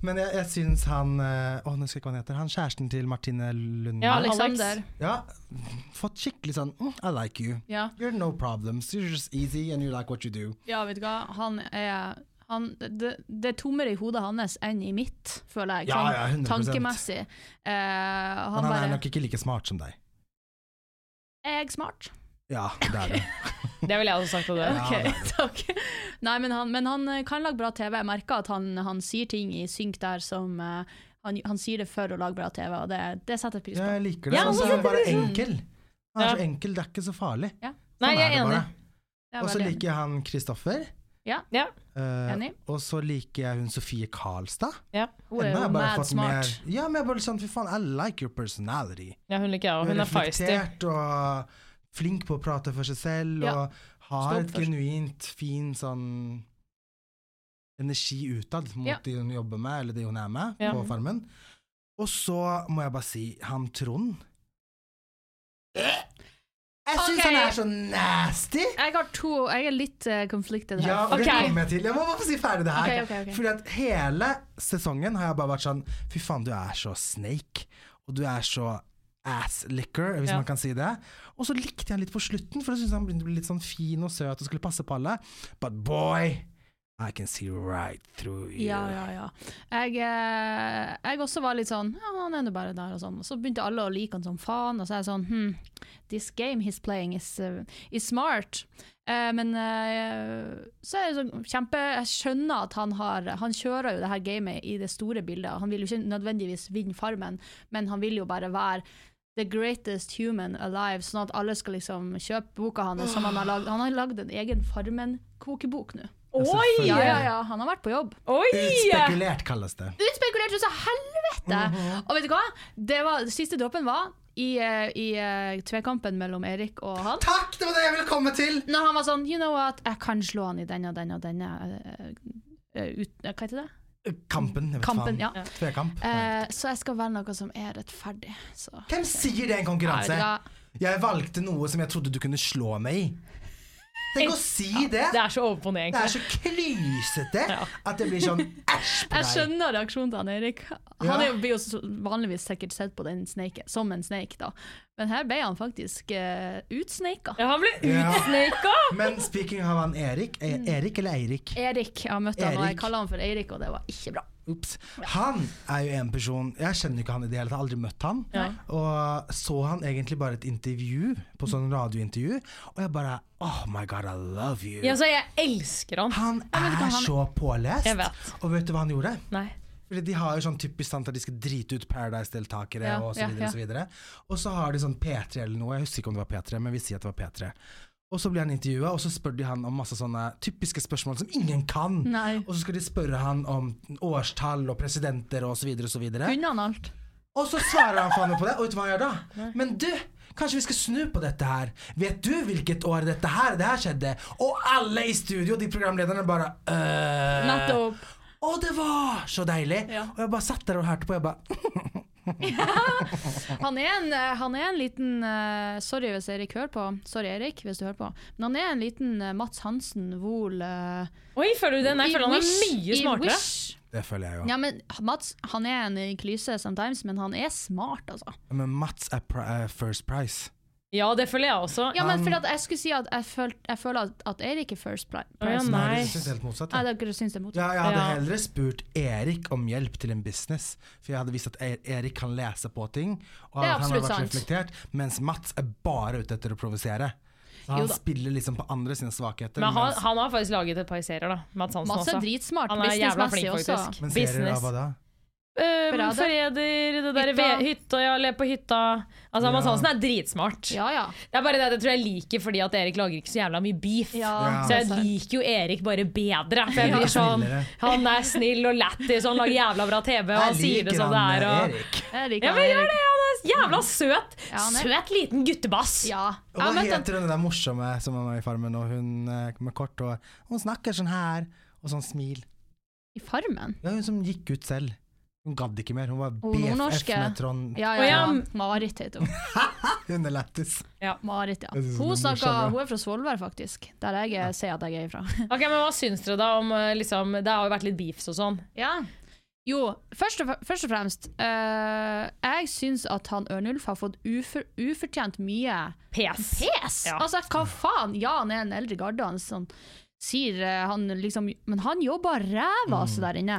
[SPEAKER 2] Men jeg, jeg syns han eh, Å, nå husker jeg ikke hva han heter. Han kjæresten til Martine Lund
[SPEAKER 3] Ja,
[SPEAKER 1] Alexander.
[SPEAKER 3] Alex.
[SPEAKER 2] Ja, fått skikkelig sånn mm, I like you.
[SPEAKER 1] Ja.
[SPEAKER 2] You're no problems. You're just easy and you like what you do.
[SPEAKER 1] ja, vet du hva. Han er han, det, det er tommere i hodet hans enn i mitt, føler jeg. sånn
[SPEAKER 2] Ja, ja, 100%.
[SPEAKER 1] tankemessig. Eh, han,
[SPEAKER 2] Men han er
[SPEAKER 1] bare
[SPEAKER 2] nok ikke like smart som deg.
[SPEAKER 1] Er jeg smart?
[SPEAKER 2] Ja, det er du.
[SPEAKER 3] Det ville jeg også sagt om det.
[SPEAKER 1] Ok, takk. Nei, men han, men han eh, kan lage bra TV. Jeg merker at han, han sier ting i synk der som eh, han, han sier det for å lage bra TV, og det, det setter jeg pris på.
[SPEAKER 2] Jeg liker det.
[SPEAKER 3] Ja,
[SPEAKER 2] og så
[SPEAKER 3] alle
[SPEAKER 2] er han bare
[SPEAKER 3] setter
[SPEAKER 2] enkel. Han
[SPEAKER 3] Ja.
[SPEAKER 2] er så enkel, det er ikke så farlig.
[SPEAKER 1] Ja.
[SPEAKER 3] Nei,
[SPEAKER 2] Sånn
[SPEAKER 3] jeg
[SPEAKER 2] er
[SPEAKER 3] er
[SPEAKER 2] det
[SPEAKER 3] enig.
[SPEAKER 2] bare.
[SPEAKER 1] Det er
[SPEAKER 2] Og så
[SPEAKER 1] veldig-
[SPEAKER 2] liker jeg han Kristoffer.
[SPEAKER 1] Ja.
[SPEAKER 3] Ja.
[SPEAKER 2] Eh,
[SPEAKER 1] Enig.
[SPEAKER 2] og så liker jeg hun Sofie Karlstad.
[SPEAKER 3] Ja.
[SPEAKER 1] Hun er
[SPEAKER 2] Enda har
[SPEAKER 1] jo
[SPEAKER 2] jeg bare
[SPEAKER 1] mad
[SPEAKER 2] fått
[SPEAKER 1] smart.
[SPEAKER 2] mer- ja, men jeg bare sånn, fy faen, I like your personality.
[SPEAKER 3] ja, hun liker jeg òg.
[SPEAKER 2] Hun
[SPEAKER 3] Hun
[SPEAKER 2] er
[SPEAKER 3] er feisty.
[SPEAKER 2] reflektert og flink på å prate for seg selv,
[SPEAKER 1] Ja.
[SPEAKER 2] og har
[SPEAKER 1] Stå opp
[SPEAKER 2] et
[SPEAKER 1] for seg.
[SPEAKER 2] genuint fin sånn energi utad mot
[SPEAKER 1] Ja.
[SPEAKER 2] de hun jobber med, eller de hun er med
[SPEAKER 3] Ja.
[SPEAKER 2] på farmen. Og så må jeg bare si, han Trond Jeg syns
[SPEAKER 1] Ok.
[SPEAKER 2] han er så nasty!
[SPEAKER 1] Jeg har to Jeg er litt eh, conflicted her.
[SPEAKER 2] Ja, og det
[SPEAKER 3] Ok.
[SPEAKER 2] kommer jeg til. Jeg må bare si ferdig det her.
[SPEAKER 1] Ok, ok, ok.
[SPEAKER 2] Fordi at hele sesongen har jeg bare vært sånn Fy faen, du er så snake, og du er så asslicker, hvis
[SPEAKER 3] Ja.
[SPEAKER 2] man kan si det. Og så likte jeg han litt på slutten, for jeg syntes han begynte å bli litt sånn fin og søt og skulle passe på alle. But boy, I can see right through you.
[SPEAKER 1] Ja, ja, ja. Jeg, eh, jeg også var litt sånn Ja, han er nå bare der, og sånn. Og så begynte alle å like han som faen, og så er jeg sånn Hm, this game he's playing is, eh, is smart. Eh, men eh, så er det sånn kjempe Jeg skjønner at han har Han kjører jo det her gamet i det store bildet. Han vil jo ikke nødvendigvis vinne Farmen, men han vil jo bare være The greatest human alive, sånn at alle skal liksom kjøpe boka hans. Som han har lagd Han har lagd en egen Farmen-kokebok nå.
[SPEAKER 3] Oi!
[SPEAKER 2] selvfølgelig.
[SPEAKER 1] Ja, ja, ja. Han har vært på jobb.
[SPEAKER 3] Oi!
[SPEAKER 2] Utspekulert, kalles det.
[SPEAKER 1] Utspekulert så helvete! Og vet du hva? Det var, siste dråpen var i, eh, i eh, tvekampen mellom Erik og han.
[SPEAKER 2] Takk, det var det jeg ville komme til!
[SPEAKER 1] Når han var sånn You know what, jeg kan slå han i den og den og denne eh, eh, ut, eh, Hva heter det?
[SPEAKER 2] Kampen, jeg vet
[SPEAKER 1] Kampen,
[SPEAKER 2] faen.
[SPEAKER 1] ja.
[SPEAKER 2] Tvekamp.
[SPEAKER 1] Eh, så jeg skal være noe som er rettferdig. Så.
[SPEAKER 2] Hvem sier det er en konkurranse?
[SPEAKER 1] Ja,
[SPEAKER 2] Jeg valgte noe som jeg trodde du kunne slå meg i. Tenk å si det!
[SPEAKER 3] Det er så ovenpå ned,
[SPEAKER 2] Det er
[SPEAKER 3] egentlig.
[SPEAKER 2] så klysete at det blir sånn æsj på
[SPEAKER 1] Jeg
[SPEAKER 2] deg.
[SPEAKER 1] skjønner reaksjonen til han Erik. Han er jo, blir jo så- vanligvis sikkert sett på den snake, som en sneik, da. Men her ble han faktisk uh, utsneika.
[SPEAKER 3] Ja, han ble
[SPEAKER 2] Ja.
[SPEAKER 3] utsneika!
[SPEAKER 2] Men speaking av han Erik e
[SPEAKER 3] Mm.
[SPEAKER 2] Erik eller Eirik?
[SPEAKER 1] Erik, jeg har møtt han, og jeg
[SPEAKER 2] Erik.
[SPEAKER 1] kaller han for Eirik, og det var ikke bra.
[SPEAKER 2] Ups. Han er jo en person Jeg kjenner jo ikke han i det hele tatt, har aldri møtt han.
[SPEAKER 3] Ja.
[SPEAKER 2] Og så han egentlig bare et intervju, på
[SPEAKER 3] Mm.
[SPEAKER 2] sånn radiointervju, og jeg bare Oh my god, I love you.
[SPEAKER 3] Ja, så jeg elsker han.
[SPEAKER 2] Han
[SPEAKER 1] vet ikke,
[SPEAKER 2] er
[SPEAKER 1] han-
[SPEAKER 2] så pålest.
[SPEAKER 3] Jeg vet.
[SPEAKER 2] Og vet du hva han gjorde?
[SPEAKER 3] Nei.
[SPEAKER 2] Fordi De har jo sånn typisk sant at de skal drite ut Paradise-deltakere
[SPEAKER 1] Ja,
[SPEAKER 2] og så
[SPEAKER 1] ja,
[SPEAKER 2] videre.
[SPEAKER 1] ja.
[SPEAKER 2] Og så videre. Og så har de sånn P3 eller noe, jeg husker ikke om det var P3, men vi sier at det var P3. Og så blir han intervjua, og så spør de han om masse sånne typiske spørsmål som ingen kan.
[SPEAKER 1] Nei.
[SPEAKER 2] Og så skal de spørre han om årstall og presidenter og så videre og så videre.
[SPEAKER 1] Kunne han alt?
[SPEAKER 2] Og så svarer han faen meg på det, og vet du hva han gjør da? Men du, kanskje vi skal snu på dette her. Vet du hvilket år dette her, det her skjedde? Og alle i studio, de programlederne, bare øh.
[SPEAKER 1] Nettopp.
[SPEAKER 2] Og det var så deilig!
[SPEAKER 1] Ja.
[SPEAKER 2] Og jeg bare satt der og hørte på, jeg bare
[SPEAKER 1] Han er en, eh, han er en liten eh, Sorry hvis Erik hører på. Sorry, Erik, hvis du hører på. Men han er en liten eh, Mats Hansen Wohl eh,
[SPEAKER 3] Oi, føler du den? Jeg
[SPEAKER 1] i
[SPEAKER 3] føler han er
[SPEAKER 1] Wish-
[SPEAKER 3] mye
[SPEAKER 1] i
[SPEAKER 3] smartere.
[SPEAKER 1] Wish.
[SPEAKER 2] Det føler jeg jo.
[SPEAKER 1] Ja, men Mats han er en klyse sometimes, men han er smart, altså.
[SPEAKER 2] Men Mats er pri er first price.
[SPEAKER 3] Ja, det føler jeg også.
[SPEAKER 1] Ja, men
[SPEAKER 2] Han-
[SPEAKER 1] fordi at jeg skulle si at jeg, følt, jeg føler at, at Erik er first pri- prize.
[SPEAKER 3] ja,
[SPEAKER 2] Så
[SPEAKER 3] Nei.
[SPEAKER 2] Jeg synes helt motsatt.
[SPEAKER 1] Nei,
[SPEAKER 2] Ja.
[SPEAKER 1] dere syns det er motsatt.
[SPEAKER 2] Ja, jeg hadde
[SPEAKER 3] Ja.
[SPEAKER 2] heller spurt Erik om hjelp til en business, for jeg hadde visst at E- Erik kan lese på ting, og
[SPEAKER 1] Det er
[SPEAKER 2] han har
[SPEAKER 1] absolutt
[SPEAKER 2] vært
[SPEAKER 1] sant.
[SPEAKER 2] reflektert, mens Mats er bare ute etter å provosere. Så
[SPEAKER 1] Jo
[SPEAKER 2] han
[SPEAKER 1] da.
[SPEAKER 2] spiller liksom på andre sine svakheter.
[SPEAKER 3] Men han,
[SPEAKER 2] mens-
[SPEAKER 3] han har faktisk laget et par serier, da. Mats Hansen
[SPEAKER 1] Mats er
[SPEAKER 3] også.
[SPEAKER 1] dritsmart
[SPEAKER 3] Han er jævla
[SPEAKER 1] businessmessig
[SPEAKER 3] flink,
[SPEAKER 1] også.
[SPEAKER 3] faktisk.
[SPEAKER 2] men serier av
[SPEAKER 3] Business.
[SPEAKER 2] hva da?
[SPEAKER 3] Eh,
[SPEAKER 1] Forræder.
[SPEAKER 3] forræder, det derre
[SPEAKER 1] Hytta.
[SPEAKER 3] ved- hytta, ja, le på hytta. Altså, Mads Hansen er dritsmart.
[SPEAKER 1] Ja, ja.
[SPEAKER 3] Det er bare det, det tror jeg liker fordi at Erik lager ikke så jævla mye beef.
[SPEAKER 2] Ja.
[SPEAKER 3] Så jeg
[SPEAKER 1] altså,
[SPEAKER 3] liker jo Erik bare bedre. For jeg
[SPEAKER 2] Ja.
[SPEAKER 3] blir sånn,
[SPEAKER 2] Snillere.
[SPEAKER 3] han er snill og lættis, og han lager jævla bra TV. Og han
[SPEAKER 2] Jeg
[SPEAKER 3] sier det
[SPEAKER 2] liker
[SPEAKER 3] som det
[SPEAKER 2] han
[SPEAKER 3] er.
[SPEAKER 2] eh,
[SPEAKER 3] Og...
[SPEAKER 2] Erik.
[SPEAKER 1] Jeg liker
[SPEAKER 3] Ja, men gjør det! Han er jævla søt.
[SPEAKER 1] Ja, han er-
[SPEAKER 3] Søt liten guttebass.
[SPEAKER 1] Ja.
[SPEAKER 2] Og hva
[SPEAKER 1] Jeg møtte en
[SPEAKER 2] heter hun der morsomme som er med i Farmen, og hun eh, med kort hår? Hun snakker sånn her, og sånn smil.
[SPEAKER 1] i Farmen.
[SPEAKER 2] Det er hun som gikk ut selv. Hun gadd ikke mer. Hun var
[SPEAKER 1] Hun
[SPEAKER 2] BFF
[SPEAKER 1] nordnorske.
[SPEAKER 2] med Trond.
[SPEAKER 1] Ja,
[SPEAKER 3] Å,
[SPEAKER 1] ja, ja.
[SPEAKER 3] ja.
[SPEAKER 1] Marit heter hun.
[SPEAKER 2] Hun er lættis.
[SPEAKER 1] Marit, ja.
[SPEAKER 2] Jeg synes det
[SPEAKER 1] Hun,
[SPEAKER 2] er
[SPEAKER 1] snakker,
[SPEAKER 2] morsomt, ja.
[SPEAKER 1] hun er fra Svolvær, faktisk. Der jeg er- ser at jeg er ifra.
[SPEAKER 3] Ok, men Hva syns dere da om eh, liksom, Det har jo vært litt beefs og sånn.
[SPEAKER 1] Ja. Jo, først og, f- først og fremst eh, Jeg syns at han Ørnulf har fått ufor, ufortjent mye
[SPEAKER 3] Pes.
[SPEAKER 1] pes!
[SPEAKER 3] Ja.
[SPEAKER 1] Altså, hva faen? Ja, han er en eldre garde, han sånn, sier eh, han liksom Men han jobber
[SPEAKER 2] Mm.
[SPEAKER 1] ræva altså der inne.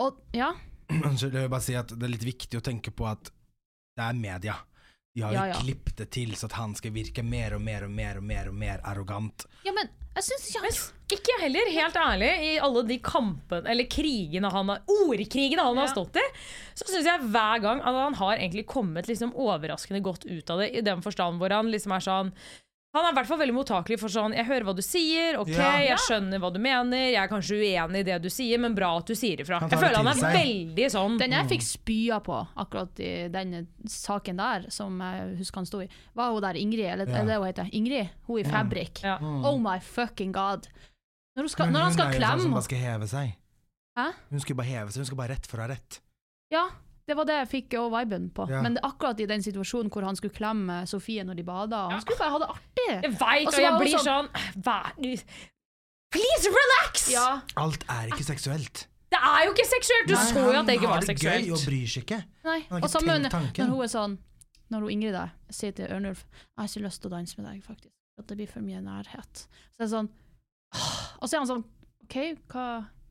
[SPEAKER 1] Og ja.
[SPEAKER 2] Unnskyld, jeg vil bare si at det er litt viktig å tenke på at det er media. De har jo
[SPEAKER 1] Ja, ja.
[SPEAKER 2] klippet det til så at han skal virke mer og mer og mer og mer og mer arrogant.
[SPEAKER 1] ja, men jeg syns ikke han
[SPEAKER 3] Ikke jeg heller, helt ærlig. I alle de kampene, eller krigene han har Ordkrigene han har
[SPEAKER 1] Ja.
[SPEAKER 3] stått i, så syns jeg hver gang at han har egentlig kommet liksom overraskende godt ut av det, i den forstand hvor han liksom er sånn han er i hvert fall veldig mottakelig for sånn Jeg hører hva du sier, ok,
[SPEAKER 2] Ja.
[SPEAKER 3] jeg skjønner hva du mener, jeg er kanskje uenig i det du sier, men bra at du sier ifra.
[SPEAKER 2] Han tar
[SPEAKER 3] Jeg
[SPEAKER 2] det
[SPEAKER 3] føler han er
[SPEAKER 2] til
[SPEAKER 3] veldig sånn
[SPEAKER 1] Den jeg fikk spya på akkurat i den saken der, som jeg husker han sto i, var hun der Ingrid, eller
[SPEAKER 2] Ja. Mm.
[SPEAKER 1] er det hun heter? Ingrid? Hun i Fabrik.
[SPEAKER 3] Ja.
[SPEAKER 1] Oh my fucking god. Når, hun skal,
[SPEAKER 2] Men
[SPEAKER 1] når han
[SPEAKER 2] hun
[SPEAKER 1] skal
[SPEAKER 2] er jo sånn som
[SPEAKER 1] klemme
[SPEAKER 2] bare skal heve seg.
[SPEAKER 1] Hæ?
[SPEAKER 2] Hun skal jo bare heve seg, hun skal bare rett for å ha rett.
[SPEAKER 1] Ja, det var det jeg fikk òg viben på.
[SPEAKER 2] Ja.
[SPEAKER 1] Men det, akkurat i den situasjonen hvor han skulle klemme Sofie når de bada, og han skulle bare ha det artig.
[SPEAKER 3] Jeg veit,
[SPEAKER 1] Og så
[SPEAKER 3] og jeg
[SPEAKER 1] var hun
[SPEAKER 3] blir sånn Vær Please relax!
[SPEAKER 1] Ja.
[SPEAKER 2] Alt er ikke seksuelt.
[SPEAKER 3] Det er jo ikke seksuelt! Du så jo at det ikke var
[SPEAKER 2] Han har det gøy
[SPEAKER 3] seksuelt.
[SPEAKER 2] og bryr seg ikke.
[SPEAKER 1] Nei.
[SPEAKER 2] har ikke
[SPEAKER 1] Og samme
[SPEAKER 2] tenkt
[SPEAKER 1] når
[SPEAKER 2] tanken.
[SPEAKER 1] når hun er sånn Når hun Ingrid der sier til Ørnulf Jeg har ikke lyst til å danse med deg, faktisk. At det blir for mye nærhet. Så er det sånn «Åh». Og så er han sånn OK, hva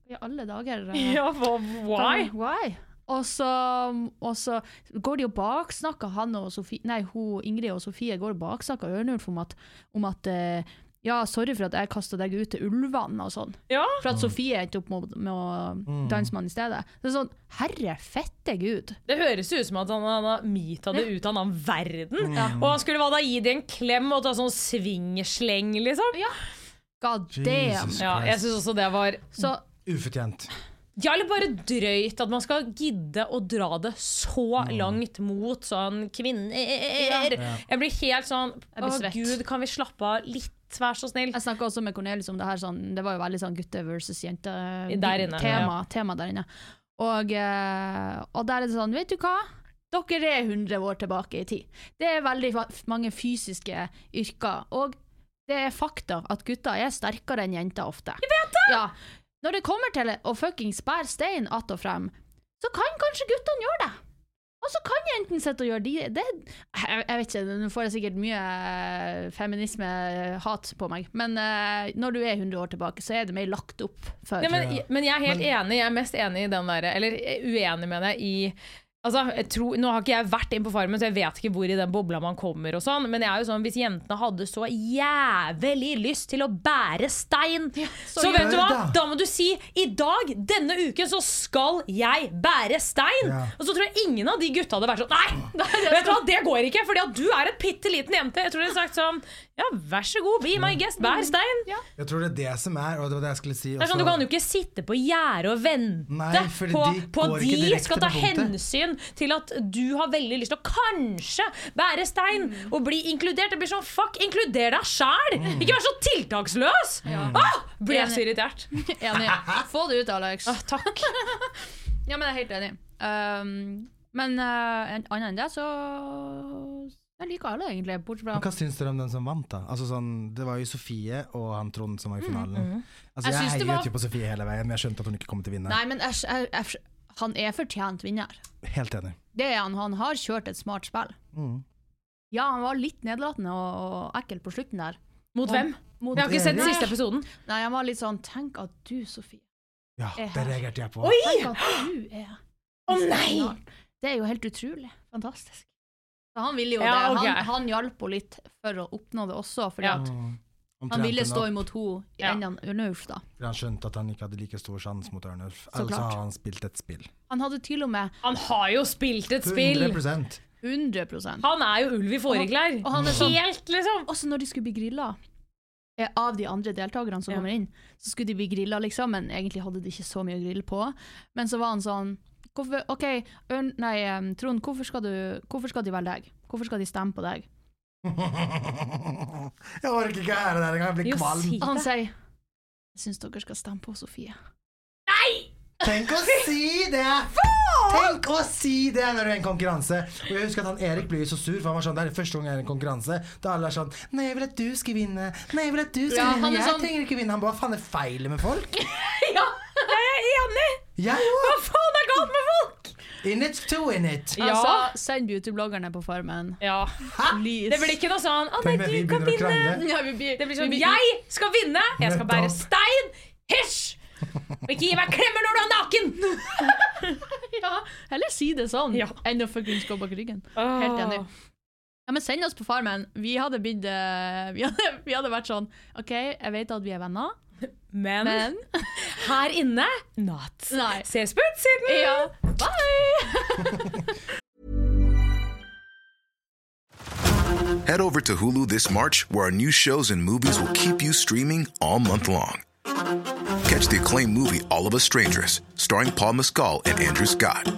[SPEAKER 1] i alle dager eh,
[SPEAKER 3] Ja, hva- why?
[SPEAKER 1] kan- Why? Og så, og så går de og baksnakker han og Sofie Nei, hun, Ingrid og Sofie går og baksnakker Ørnulf om at, om at eh, Ja, sorry for at jeg kasta deg ut til ulvene og sånn.
[SPEAKER 3] Ja.
[SPEAKER 1] For at Sofie endte opp med, å- med å
[SPEAKER 2] Mm.
[SPEAKER 1] danse med han i stedet. Det er sånn Herre fette gud!
[SPEAKER 3] Det høres jo ut som at han, han har mita det ut av en annen verden.
[SPEAKER 1] Mm.
[SPEAKER 3] Og han skulle hva da gi det en klem og ta sånn swingsleng, liksom.
[SPEAKER 1] God damn!
[SPEAKER 2] Jesus
[SPEAKER 3] Ja, jeg syns også det var
[SPEAKER 1] Så
[SPEAKER 2] Ufortjent.
[SPEAKER 3] Ja, eller bare drøyt at man skal gidde å dra det så
[SPEAKER 1] Mm.
[SPEAKER 3] langt mot sånn kvinner. Jeg blir helt sånn
[SPEAKER 1] Jeg blir
[SPEAKER 3] Å,
[SPEAKER 1] svett.
[SPEAKER 3] gud, kan vi slappe av litt, vær så snill?
[SPEAKER 1] Jeg snakka også med Cornelius om det her, sånn, det var jo veldig sånn gutte versus jente
[SPEAKER 3] Der inne,
[SPEAKER 1] tema, tema der inne. Og, eh, og der er det sånn, vet du hva? Dere er 100 år tilbake i tid. Det er veldig fa- mange fysiske yrker, og det er fakta at gutter er sterkere enn jenter ofte. Jeg vet det! Ja. Når det kommer til å fuckings bære stein att og frem, så kan kanskje guttene gjøre det. Og så kan jeg enten sitte og gjøre de det, jeg, jeg vet ikke, nå får jeg sikkert mye eh, feminisme-hat på meg, men eh, når du er 100 år tilbake, så er det mer lagt opp for
[SPEAKER 3] Nei, men, men jeg er helt enig. Jeg er mest enig i den derre Eller eh, uenig, mener jeg, i Altså, jeg tror, nå har ikke jeg vært inn på Farmen, så jeg vet ikke hvor i den bobla man kommer. og sånn, Men jeg er jo sånn, hvis jentene hadde så jævlig lyst til å bære stein, så,
[SPEAKER 2] gjør
[SPEAKER 3] vet du
[SPEAKER 2] det
[SPEAKER 3] hva,
[SPEAKER 2] da.
[SPEAKER 3] da må du si 'i dag, denne uken, så skal jeg bære stein'.
[SPEAKER 2] Ja.
[SPEAKER 3] Og så tror jeg ingen av de gutta hadde vært sånn 'nei, vet du hva, det går ikke', fordi at du er et bitte liten jente. Jeg tror de hadde sagt sånn 'ja, vær så god, be my guest, bær stein'.
[SPEAKER 2] Jeg tror det er det som er, og det var det jeg skulle si
[SPEAKER 3] Det er sånn, Du kan jo ikke sitte på gjerdet og vente
[SPEAKER 2] Altså- Nei, fordi
[SPEAKER 3] på,
[SPEAKER 2] de
[SPEAKER 3] på
[SPEAKER 2] går
[SPEAKER 3] at
[SPEAKER 2] ikke
[SPEAKER 3] de
[SPEAKER 2] direkte
[SPEAKER 3] skal
[SPEAKER 2] på
[SPEAKER 3] ta
[SPEAKER 2] punktet.
[SPEAKER 3] hensyn til at du har veldig lyst til å kanskje bære stein og bli inkludert. Det blir sånn, fuck, Inkluder deg sjæl!
[SPEAKER 2] Mm.
[SPEAKER 3] Ikke vær så tiltaksløs! Åh, ble jeg så irritert.
[SPEAKER 1] Enig. Få det ut, Alex.
[SPEAKER 3] Åh, Ah, takk.
[SPEAKER 1] Ja, men jeg er helt enig. Um, men eh, en- annet enn det, så Jeg liker alle, egentlig, bortsett fra
[SPEAKER 2] Men hva syns dere om den som vant, da? Altså sånn, det var jo Sofie og han Trond som var i finalen. Altså,
[SPEAKER 1] Mm, Jeg
[SPEAKER 2] jeg
[SPEAKER 1] syns det
[SPEAKER 2] heier
[SPEAKER 1] var-
[SPEAKER 2] jo til på Sofie hele veien, men jeg skjønte at hun ikke kom til å vinne.
[SPEAKER 1] Nei, men jeg, jeg, jeg, han er fortjent vinner.
[SPEAKER 2] Helt enig.
[SPEAKER 1] Det er han. Han har kjørt et smart spill.
[SPEAKER 2] Mm.
[SPEAKER 1] Ja, han var litt nedlatende og, og ekkel på slutten der.
[SPEAKER 3] Mot hvem?
[SPEAKER 1] Mot-
[SPEAKER 3] Jeg har ikke sett
[SPEAKER 1] Nei.
[SPEAKER 3] siste episoden.
[SPEAKER 1] Nei, han var litt sånn Tenk at du, Sofie
[SPEAKER 2] Ja,
[SPEAKER 1] Jeg
[SPEAKER 2] det
[SPEAKER 1] har-
[SPEAKER 2] reagerte jeg på.
[SPEAKER 3] Oi!
[SPEAKER 1] Tenk at du er
[SPEAKER 3] Å nei!
[SPEAKER 1] Det er jo helt utrolig. Fantastisk. Så han ville jo
[SPEAKER 3] Ja,
[SPEAKER 1] det.
[SPEAKER 3] ok.
[SPEAKER 1] Han, han hjalp henne litt for å oppnå det også, fordi
[SPEAKER 3] Ja.
[SPEAKER 1] at
[SPEAKER 2] Mm.
[SPEAKER 1] Han
[SPEAKER 2] Omtrent
[SPEAKER 1] ville
[SPEAKER 2] ennå,
[SPEAKER 1] stå imot henne i
[SPEAKER 3] Ja.
[SPEAKER 1] enden av Ørnulf, da.
[SPEAKER 2] for Han skjønte at han ikke hadde like stor sjanse mot Ørnulf.
[SPEAKER 1] Så
[SPEAKER 2] Altså
[SPEAKER 1] klart.
[SPEAKER 2] har han spilt et spill.
[SPEAKER 1] Han hadde til og med
[SPEAKER 3] Han har jo spilt et spill!
[SPEAKER 2] 100
[SPEAKER 1] 100
[SPEAKER 3] Han er jo ulv i fåreklær.
[SPEAKER 1] Og han er sånn-
[SPEAKER 3] Helt, liksom.
[SPEAKER 1] Også når de skulle bli grilla eh, av de andre deltakerne som
[SPEAKER 3] Ja.
[SPEAKER 1] kommer inn, så skulle de bli grilla, liksom, men egentlig hadde de ikke så mye å grille på. Men så var han sånn hvorfor, OK, Ørn, nei, em, Trond, hvorfor skal, du, hvorfor skal de velge deg? Hvorfor skal de stemme på deg?
[SPEAKER 2] Jeg orker ikke ære der engang, jeg blir
[SPEAKER 3] Jo,
[SPEAKER 2] kvalm.
[SPEAKER 3] si
[SPEAKER 1] Og han
[SPEAKER 3] det.
[SPEAKER 1] sier jeg syns dere skal stemme på Sofie.
[SPEAKER 2] Tenk å si det! Tenk å si det når du er i en konkurranse! Og jeg husker at han Erik ble jo så sur, for han var sånn Det er første gang jeg er i en konkurranse. Da alle er sånn Nei, jeg vil at du skal vinne. Nei, jeg vil at du skal
[SPEAKER 1] Ja,
[SPEAKER 2] vinne.
[SPEAKER 1] han er
[SPEAKER 2] Jeg
[SPEAKER 1] sånn-
[SPEAKER 2] trenger ikke vinne. Han bare Hva faen er feilet med folk?
[SPEAKER 3] Ja, jeg er enig!
[SPEAKER 2] Jeg
[SPEAKER 3] Hva
[SPEAKER 2] òg!
[SPEAKER 3] faen er galt med folk?!
[SPEAKER 2] In it to in it.
[SPEAKER 3] Ja.
[SPEAKER 1] Altså, send beautybloggerne på Farmen.
[SPEAKER 3] Ja.
[SPEAKER 1] Please.
[SPEAKER 3] Det blir ikke noe sånn 'Å nei,
[SPEAKER 2] Tenk når vi
[SPEAKER 3] du kan
[SPEAKER 2] begynner å
[SPEAKER 3] vinne'.
[SPEAKER 2] krangle.
[SPEAKER 1] ja, vi blir,
[SPEAKER 3] Det blir sånn
[SPEAKER 1] vi
[SPEAKER 3] 'Jeg skal vinne! Jeg skal bære
[SPEAKER 2] Nettopp.
[SPEAKER 3] stein! Hysj! Og ikke gi meg klemmer når du er naken!
[SPEAKER 1] ja, Heller si det sånn
[SPEAKER 3] Ja.
[SPEAKER 1] enn å fuckings gå bak ryggen. Helt enig. Ja, men send oss på Farmen. Vi hadde, blitt, eh, vi, hadde, vi hadde vært sånn OK, jeg vet at vi er venner,
[SPEAKER 3] Men,
[SPEAKER 1] men
[SPEAKER 3] her inne not.
[SPEAKER 1] Nei.
[SPEAKER 3] Ses på utsiden!
[SPEAKER 1] Ja, bye!
[SPEAKER 4] Head over to Hulu this March, where our new shows and movies will keep you streaming all month long. Catch the acclaimed movie All of Us Strangers, starring Paul Mescal and Andrew Scott.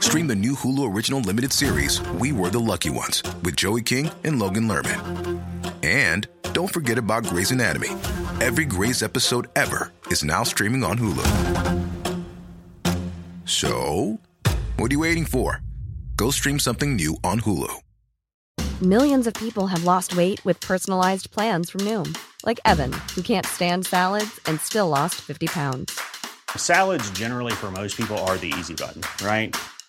[SPEAKER 4] Stream the new Hulu original limited series We Were the Lucky Ones with Joey King and Logan Lerman. And don't forget about Grey's Anatomy. Every Grey's episode ever is now streaming on Hulu. So, what are you waiting for? Go stream something new on Hulu.
[SPEAKER 5] Millions of people have lost weight with personalized plans from Noom, like Evan, who can't stand salads and still lost 50 pounds.
[SPEAKER 6] Salads, generally, for most people, are the easy button, right?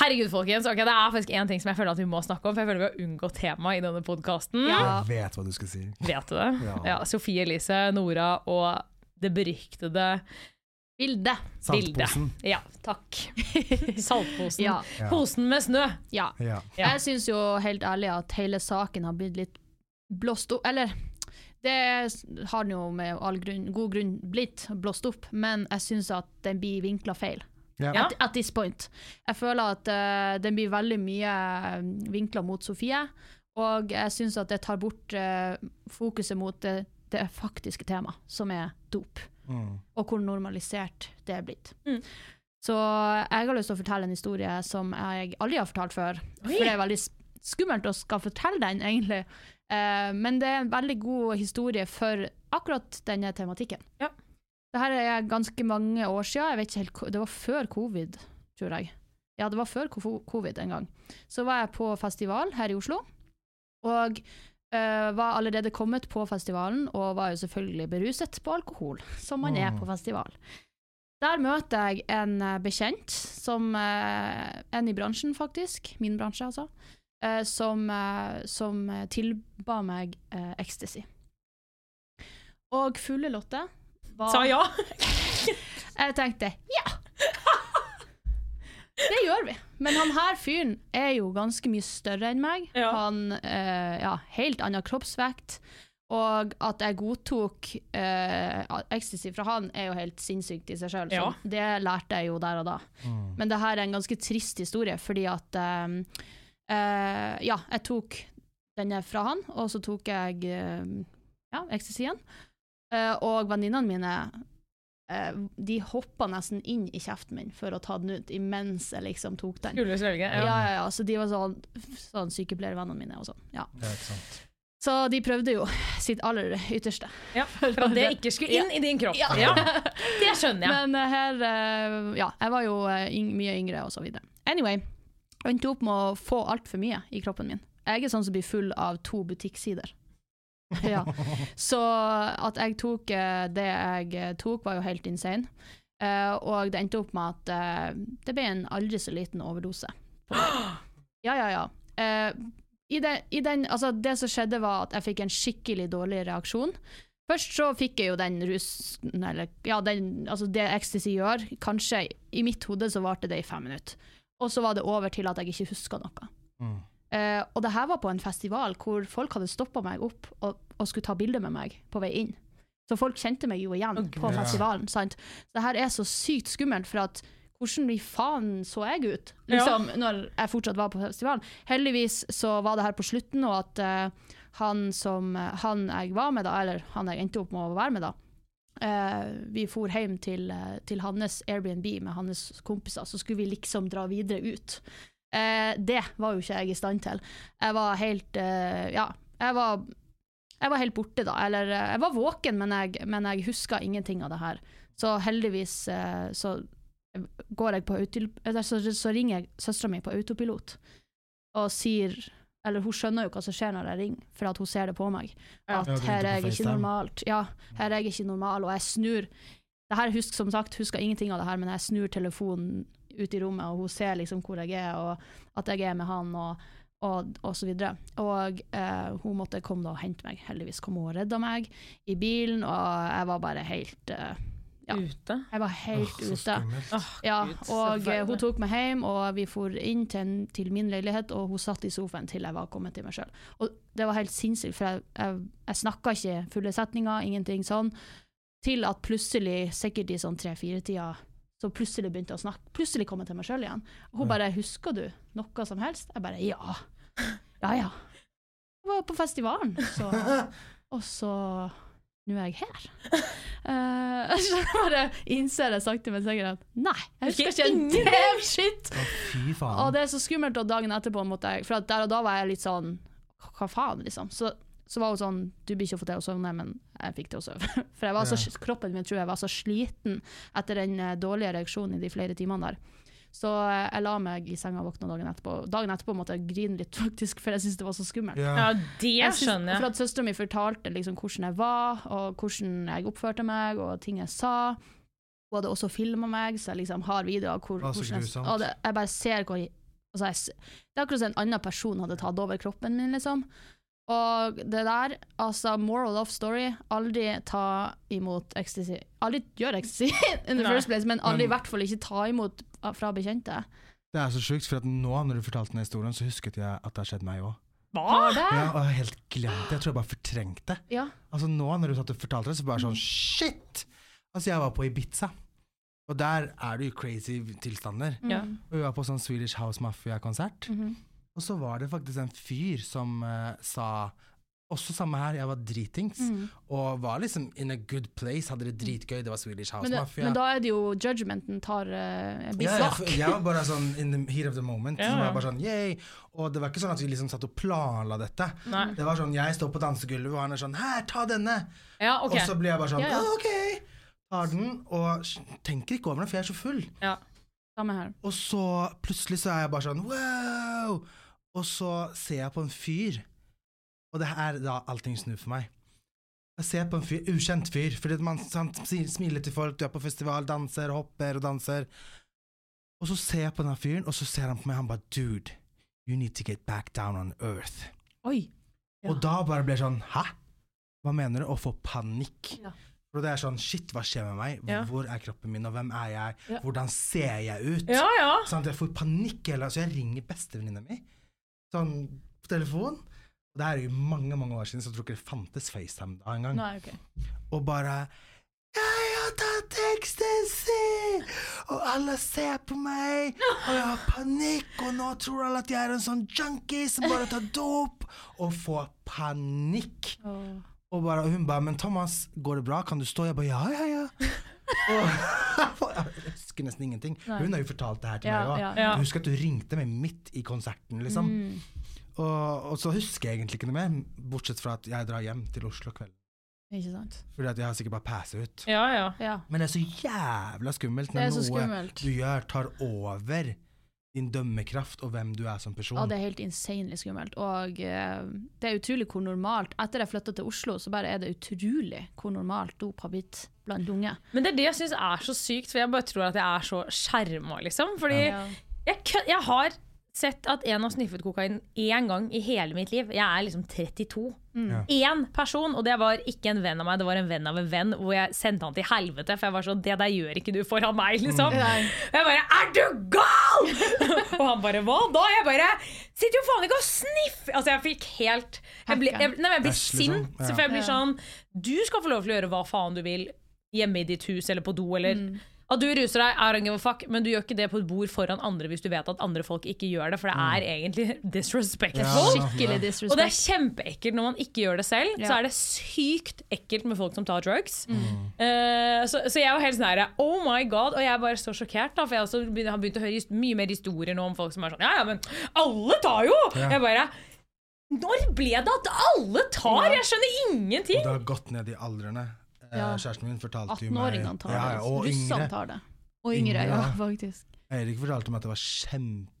[SPEAKER 3] Herregud, folkens. ok, det er faktisk én ting som jeg føler at vi må snakke om, for jeg føler vi har unngått temaet i denne podkasten.
[SPEAKER 2] Jeg vet hva du skal si.
[SPEAKER 3] Vet du det?
[SPEAKER 2] Ja.
[SPEAKER 3] Sofie Elise, Nora og det beryktede
[SPEAKER 1] Bilde.
[SPEAKER 3] bildet.
[SPEAKER 2] Saltposen.
[SPEAKER 3] Ja, takk. Saltposen.
[SPEAKER 1] Ja.
[SPEAKER 2] Ja.
[SPEAKER 3] Posen med snø.
[SPEAKER 1] ja.
[SPEAKER 2] Ja.
[SPEAKER 3] Ja.
[SPEAKER 1] Jeg syns jo helt ærlig at hele saken har blitt litt blåst opp Eller det s- har den jo med all grunn, god grunn blitt blåst opp, men jeg syns at den blir vinkla feil.
[SPEAKER 2] Ja.
[SPEAKER 3] Ja.
[SPEAKER 1] At, at this point. Jeg føler at eh, den blir veldig mye vinkla mot Sofie, og jeg syns at det tar bort eh, fokuset mot det, det faktiske temaet, som er dop.
[SPEAKER 2] Mm.
[SPEAKER 1] og hvor normalisert det er blitt. Så jeg har lyst til å fortelle en historie som jeg aldri har fortalt før. For det er veldig s- skummelt å skal fortelle den, egentlig. Eh, men det er en veldig god historie for akkurat denne tematikken.
[SPEAKER 3] Ja.
[SPEAKER 1] Det her er ganske mange år siden. Jeg vet ikke helt, ko- det var før covid, tror jeg. Ja, det var før ko- covid en gang. Så var jeg på festival her i Oslo, og eh, var allerede kommet på festivalen, og var jo selvfølgelig beruset på alkohol, som man er på festival. Der møter jeg en eh, bekjent, som, eh, en i bransjen faktisk, min bransje altså, eh, som, eh, som eh, tilba meg eh, ecstasy. Og fulle Lotte var
[SPEAKER 3] Sa ja.
[SPEAKER 1] Jeg tenkte ja! Det gjør vi. Men han her fyren er jo ganske mye større enn meg.
[SPEAKER 3] Ja.
[SPEAKER 1] Han eh, ja, helt annen kroppsvekt. Og at jeg godtok eh, ecstasy fra han, er jo helt sinnssykt i seg sjøl.
[SPEAKER 3] Ja.
[SPEAKER 1] Det lærte jeg jo der og da. Men det her er en ganske trist historie, fordi at eh, eh, Ja, jeg tok denne fra han, og så tok jeg eh, ja, ecstasyen. Eh, og venninnene mine eh, de hoppa nesten inn i kjeften min for å ta den ut, imens jeg liksom tok den.
[SPEAKER 3] Skulle svelge.
[SPEAKER 1] Ja,
[SPEAKER 3] Ja.
[SPEAKER 1] ja, ja, så de var sånn, sånn sykepleiervennene mine og sånn. Ja.
[SPEAKER 2] Det er ikke sant.
[SPEAKER 1] Så de prøvde jo sitt aller ytterste.
[SPEAKER 3] Ja, For at det ikke skulle inn i din kropp.
[SPEAKER 1] Ja.
[SPEAKER 3] Ja. Det skjønner jeg.
[SPEAKER 1] Men eh, her eh, Ja, jeg var jo eh, yng mye yngre, og så videre. Anyway, jeg endte opp med å få altfor mye i kroppen min. Jeg er sånn som blir full av to butikksider. ja. Så at jeg tok eh, det jeg eh, tok, var jo helt insane. Eh, og det endte opp med at eh, det ble en aldri så liten overdose Ja, ja, ja. Eh, i den, i den, altså det som skjedde, var at jeg fikk en skikkelig dårlig reaksjon. Først så fikk jeg jo den rusen, eller ja, den, altså det ecstasy gjør. Kanskje i mitt hode så varte det i fem minutter. Og så var det over til at jeg ikke huska noe.
[SPEAKER 2] Mm.
[SPEAKER 1] Eh, og det her var på en festival hvor folk hadde stoppa meg opp og, og skulle ta bilde med meg på vei inn. Så folk kjente meg jo igjen på
[SPEAKER 2] Ja.
[SPEAKER 1] festivalen. sant? Så det her er så sykt skummelt, for at hvordan i faen så jeg ut liksom, når jeg fortsatt var på festivalen? Heldigvis så var det her på slutten, og at eh, han som han jeg var med da, eller han jeg endte opp med å være med da, eh, vi for hjem til, eh, til hans Airbnb med hans kompiser, så skulle vi liksom dra videre ut. Eh, det var jo ikke jeg i stand til. Jeg var helt eh, Ja, jeg var, jeg var helt borte, da. Eller eh, jeg var våken, men jeg, men jeg huska ingenting av det her. Så heldigvis eh, så går jeg på autopilot eller så, så ringer jeg søstera mi på autopilot og sier Eller hun skjønner jo hva som skjer når jeg ringer, for at hun ser det på meg. At
[SPEAKER 3] Ja.
[SPEAKER 2] Ja, du ringte
[SPEAKER 1] her er
[SPEAKER 2] på
[SPEAKER 1] jeg ikke
[SPEAKER 2] FaceTime.
[SPEAKER 1] normalt. Ja, her er jeg ikke normal, og jeg snur. Det her husk, som sagt, husker ingenting av det her, men jeg snur telefonen ut i rommet, og hun ser liksom hvor jeg er, og at jeg er med han, og, og, og så videre. Og eh, hun måtte komme da og hente meg. Heldigvis kom hun og redda meg i bilen, og jeg var bare helt eh, Ja.
[SPEAKER 3] Ute?
[SPEAKER 1] Jeg var helt
[SPEAKER 2] Åh, så
[SPEAKER 1] ute.
[SPEAKER 2] skummelt.
[SPEAKER 3] Åh,
[SPEAKER 1] Ja,
[SPEAKER 3] Gud, så
[SPEAKER 1] og eh, hun
[SPEAKER 3] forferdelig.
[SPEAKER 1] tok meg hjem, og vi for inn til, en, til min leilighet, og hun satt i sofaen til jeg var kommet til meg sjøl. Og det var helt sinnssykt, for jeg, jeg, jeg snakka ikke fulle setninger, ingenting sånn, til at plutselig, sikkert i sånn tre-fire-tida, så plutselig begynte jeg å snakke. Plutselig kom jeg til meg sjøl igjen. Og hun bare 'Husker du noe som helst?' Jeg bare 'Ja'. Ja ja. Jeg var på festivalen, så Og så Nå er jeg her. Eh, så bare innser jeg sakte, men sikkert at nei, jeg husker ikke en
[SPEAKER 3] Ingenting.
[SPEAKER 1] damn shit!
[SPEAKER 2] Å, fy faen.
[SPEAKER 1] Og det er så skummelt, og dagen etterpå måtte jeg For at der og da var jeg litt sånn Hva faen, liksom? Så, så var hun sånn Du blir ikke å få til å sovne, men jeg fikk til å sove. For jeg var så, kroppen min tror jeg var så sliten etter den eh, dårlige reaksjonen i de flere timene der. Så eh, jeg la meg i senga og våkna dagen etterpå. Dagen etterpå måtte jeg grine litt, faktisk, for jeg syntes det var så skummelt.
[SPEAKER 3] Ja,
[SPEAKER 2] ja.
[SPEAKER 3] det
[SPEAKER 1] Jeg syns-
[SPEAKER 3] skjønner
[SPEAKER 1] For
[SPEAKER 3] jeg.
[SPEAKER 1] at Søstera mi fortalte liksom hvordan jeg var, og hvordan jeg oppførte meg, og ting jeg sa. Hun hadde også filma meg, så jeg liksom har videoer. Hvor,
[SPEAKER 2] Å, så
[SPEAKER 1] hvordan jeg,
[SPEAKER 2] grusomt.
[SPEAKER 1] og det, jeg bare ser hvor altså jeg, s- Det er akkurat som en annen person hadde tatt over kroppen min, liksom. Og det der, altså moral of story, aldri ta imot ecstasy. Aldri gjør ecstasy in the
[SPEAKER 3] Nei.
[SPEAKER 1] first place, men aldri
[SPEAKER 2] Men-
[SPEAKER 1] i hvert fall ikke ta imot fra bekjente.
[SPEAKER 2] Det er så sjukt, for at nå når du fortalte den historien, så husket jeg at det har skjedd meg òg.
[SPEAKER 3] Hva?
[SPEAKER 1] Det,
[SPEAKER 2] Ja, og jeg har helt glemt det. Jeg tror jeg bare fortrengte det.
[SPEAKER 1] ja.
[SPEAKER 2] Altså nå når du satt og fortalte det, så bare sånn shit! Altså jeg var på Ibiza, og der er du i crazy tilstander.
[SPEAKER 1] Mm.
[SPEAKER 3] Ja.
[SPEAKER 2] Og vi var på sånn Swedish House Mafia-konsert,
[SPEAKER 1] Mhm.
[SPEAKER 2] og så var det faktisk en fyr som eh, sa også samme her, jeg var dritings,
[SPEAKER 1] Mm.
[SPEAKER 2] og var liksom in a good place, hadde det dritgøy, det var Swedish House
[SPEAKER 1] Men, det,
[SPEAKER 2] Mafia.
[SPEAKER 1] men da er det jo judgmenten tar uh,
[SPEAKER 2] Ja,
[SPEAKER 1] beslag.
[SPEAKER 2] jeg, jeg var bare sånn in the heat of the moment. Så
[SPEAKER 3] Ja,
[SPEAKER 2] var jeg
[SPEAKER 3] ja.
[SPEAKER 2] bare sånn, yay. Og det var ikke sånn at vi liksom satt og planla dette.
[SPEAKER 3] Nei.
[SPEAKER 2] Det var sånn, jeg står på dansegulvet, og han er sånn, her, ta denne.
[SPEAKER 3] Ja, ok.
[SPEAKER 2] Og så blir jeg bare sånn,
[SPEAKER 1] Ja, ja.
[SPEAKER 2] «Ah, ok. Tar den, og s- tenker ikke over den, for jeg er så full.
[SPEAKER 3] Ja.
[SPEAKER 1] Samme her.
[SPEAKER 2] Og så plutselig så er jeg bare sånn, wow. Og så ser jeg på en fyr, og det her er da allting snur for meg. Jeg ser på en fyr, ukjent fyr, fordi at man sant, si- smiler til folk, du er på festival, danser, hopper og danser. Og så ser jeg på den her fyren, og så ser han på meg, han bare, dude, you need to get back down on earth.
[SPEAKER 3] Oi.
[SPEAKER 2] Og da bare ble jeg sånn, hæ? Hva mener du? Å få panikk.
[SPEAKER 1] Ja.
[SPEAKER 2] For det er sånn, shit, hva skjer med meg?
[SPEAKER 3] Ja.
[SPEAKER 2] Hvor er kroppen min, og hvem er jeg?
[SPEAKER 3] Ja.
[SPEAKER 2] Hvordan ser jeg ut?
[SPEAKER 3] Ja, ja.
[SPEAKER 2] Sånn at jeg får panikk hele Så jeg ringer bestevenninna mi sånn, på telefon. Og det her er jo mange mange år siden, så jeg tror ikke det fantes FaceTime da engang.
[SPEAKER 1] Nei, Ah, ok.
[SPEAKER 2] Og bare 'Jeg har tatt ecstasy!' Og alle ser på meg, og jeg har panikk, og nå tror alle at jeg er en sånn junkie som bare tar dop, og får panikk. Og, bare, og hun bare 'Men Thomas, går det bra? Kan du stå?' Jeg bare 'Ja, ja, ja'. Og jeg husker nesten ingenting. Hun har jo fortalt det her til
[SPEAKER 1] Ja,
[SPEAKER 2] meg òg.
[SPEAKER 1] ja,
[SPEAKER 3] ja. Mm.
[SPEAKER 2] Jeg husker at du ringte meg midt i konserten, liksom. Og, og så husker jeg egentlig ikke noe mer, bortsett fra at jeg drar hjem til Oslo kvelden.
[SPEAKER 1] Ikke sant.
[SPEAKER 2] Fordi at jeg har sikkert bare passet ut.
[SPEAKER 3] Ja, ja.
[SPEAKER 1] Ja.
[SPEAKER 2] Men det er så jævla skummelt
[SPEAKER 1] Det
[SPEAKER 2] når
[SPEAKER 1] er så
[SPEAKER 2] noe
[SPEAKER 1] skummelt.
[SPEAKER 2] du gjør, tar over din dømmekraft og hvem du er som person.
[SPEAKER 1] Ja, det er helt insanely skummelt. Og eh, det er utrolig hvor normalt Etter jeg flytta til Oslo, så bare er det utrolig hvor normalt dop har blitt blant unge.
[SPEAKER 3] Men det er det jeg syns er så sykt, for jeg bare tror at jeg er så skjerma, liksom. Fordi jeg, kø- jeg har sett at en har sniffet kokain én gang i hele mitt liv. Jeg er liksom 32.
[SPEAKER 2] Ja.
[SPEAKER 3] Én person, og det var ikke en venn av meg, det var en venn av en venn, hvor jeg sendte han til helvete, for jeg var sånn Det der gjør ikke du foran meg,
[SPEAKER 2] Mm.
[SPEAKER 3] liksom. Og jeg bare Er du gal?! og han bare Hva da? Jeg bare Sitter jo faen ikke og sniffer! Altså, jeg fikk helt Jeg ble, jeg, nei, men jeg blir
[SPEAKER 2] Æsj, liksom.
[SPEAKER 3] sint,
[SPEAKER 2] Ja.
[SPEAKER 3] for jeg blir sånn Du skal få lov til å gjøre hva faen du vil hjemme i ditt hus eller på do eller At du ruser deg, I don't give a fuck, men du gjør ikke det på et bord foran andre hvis du vet at andre folk ikke gjør det, for det er egentlig disrespectful.
[SPEAKER 2] Ja.
[SPEAKER 1] Skikkelig
[SPEAKER 3] Og det er
[SPEAKER 1] disrespect.
[SPEAKER 3] kjempeekkelt når man ikke gjør det selv. Så
[SPEAKER 1] Ja.
[SPEAKER 3] er det sykt ekkelt med folk som tar drugs.
[SPEAKER 2] Mm.
[SPEAKER 3] Eh, så, så jeg var helt sånn her Oh my god! Og jeg er bare så sjokkert, da, for jeg også begyn- har begynt å høre his- mye mer historier nå om folk som er sånn Ja, ja, men alle tar jo!
[SPEAKER 2] Ja.
[SPEAKER 3] Jeg bare Når ble det at alle tar? Jeg skjønner
[SPEAKER 2] Og
[SPEAKER 3] ingenting!
[SPEAKER 2] det har gått ned i aldrene. Eh,
[SPEAKER 1] Ja.
[SPEAKER 2] Kjæresten min fortalte jo meg
[SPEAKER 1] 18-åringene tar det.
[SPEAKER 2] ja, ja,
[SPEAKER 1] altså.
[SPEAKER 2] Og
[SPEAKER 1] Russene
[SPEAKER 2] yngre.
[SPEAKER 1] tar det. Og yngre,
[SPEAKER 2] Yngre,
[SPEAKER 1] ja,
[SPEAKER 2] ja.
[SPEAKER 1] faktisk.
[SPEAKER 2] Eirik fortalte meg at det var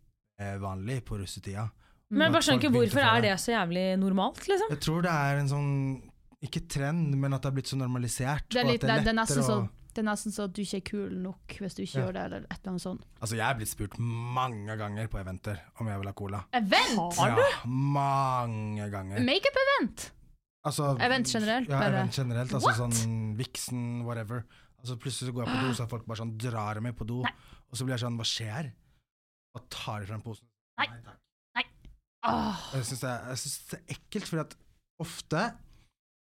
[SPEAKER 2] kjempevanlig på russetida.
[SPEAKER 3] Men jeg bare skjønner ikke
[SPEAKER 2] Folk begynte å
[SPEAKER 3] hvorfor
[SPEAKER 2] ta
[SPEAKER 3] er
[SPEAKER 2] det.
[SPEAKER 3] det så jævlig normalt, liksom?
[SPEAKER 2] Jeg tror det er en sånn Ikke trend, men at det har blitt så normalisert.
[SPEAKER 1] Det er,
[SPEAKER 2] og at
[SPEAKER 1] litt, det, er- det, er nesten
[SPEAKER 2] lettere
[SPEAKER 1] så,
[SPEAKER 2] å-
[SPEAKER 1] det er nesten så at du ikke er kul nok hvis du ikke
[SPEAKER 2] Ja.
[SPEAKER 1] gjør det, eller et eller annet sånt.
[SPEAKER 2] Altså, jeg er blitt spurt mange ganger på eventer om jeg vil ha cola.
[SPEAKER 1] Event!
[SPEAKER 2] Ja, mange ganger.
[SPEAKER 1] Makeup-event!
[SPEAKER 2] Altså,
[SPEAKER 1] Event generelt,
[SPEAKER 2] Ja,
[SPEAKER 1] bare.
[SPEAKER 2] event generelt. Altså
[SPEAKER 1] What? Ah.
[SPEAKER 2] sånn Vixen, whatever. Altså, plutselig så går jeg på do, så er folk bare sånn drar meg på do. Og så blir jeg sånn, hva skjer? Og tar frem posen.
[SPEAKER 1] Nei. Ah.
[SPEAKER 2] takk.
[SPEAKER 1] Åh,
[SPEAKER 2] Jeg syns det, er- jeg synes det er ekkelt, fordi at ofte